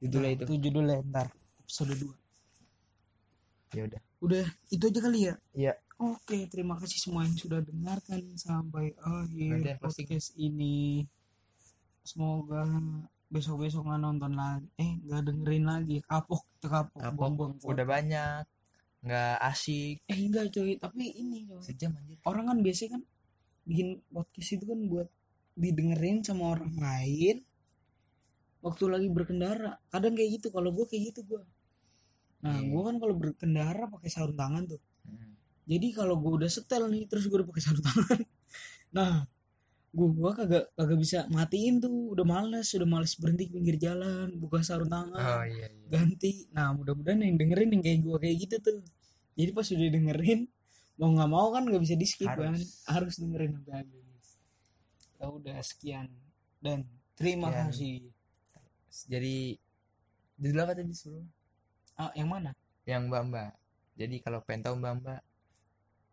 S2: Nah,
S1: judulnya itu
S2: itu judulnya ntar episode 2
S1: ya udah
S2: udah itu aja kali ya
S1: Iya.
S2: oke terima kasih semua yang sudah dengarkan sampai
S1: Nanti
S2: akhir
S1: yang closing.
S2: podcast ini semoga besok besok nggak nonton lagi eh nggak dengerin lagi kapok kapok,
S1: Kapok.
S2: buang-buang
S1: udah banyak nggak asik
S2: eh enggak coy tapi ini coy
S1: sejam anjir
S2: orang kan biasanya kan bikin podcast itu kan buat didengerin sama orang lain waktu lagi berkendara kadang kayak gitu kalau gue kayak gitu gue nah
S1: Hmm.
S2: gue kan kalau berkendara pakai sarung tangan tuh jadi kalau gue udah setel nih terus gue udah pakai sarung tangan (laughs) nah gue gua kagak kagak bisa matiin tuh udah males udah males berhenti di pinggir jalan buka sarung tangan
S1: iya iya
S2: ganti nah mudah-mudahan yang dengerin yang kayak gue kayak gitu tuh jadi pas udah dengerin mau nggak mau kan nggak bisa di skip kan
S1: Harus.
S2: harus dengerin sampai habis ya udah sekian dan terima
S1: Sekian.
S2: kasih
S1: jadi judul apa tadi sebelum
S2: ah yang mana
S1: yang mbak mbak jadi kalau pengen tahu mbak mbak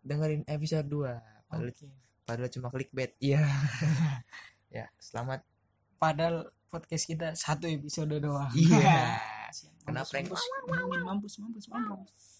S1: dengerin episode 2 padahal,
S2: Ah, Oke.
S1: padahal cuma clickbait (laughs) iya ya selamat
S2: padahal podcast kita satu episode doang
S1: iya
S2: Sian,
S1: Kena
S2: (laughs) mampus,
S1: prank.
S2: mampus, mampus mampus mampus mampus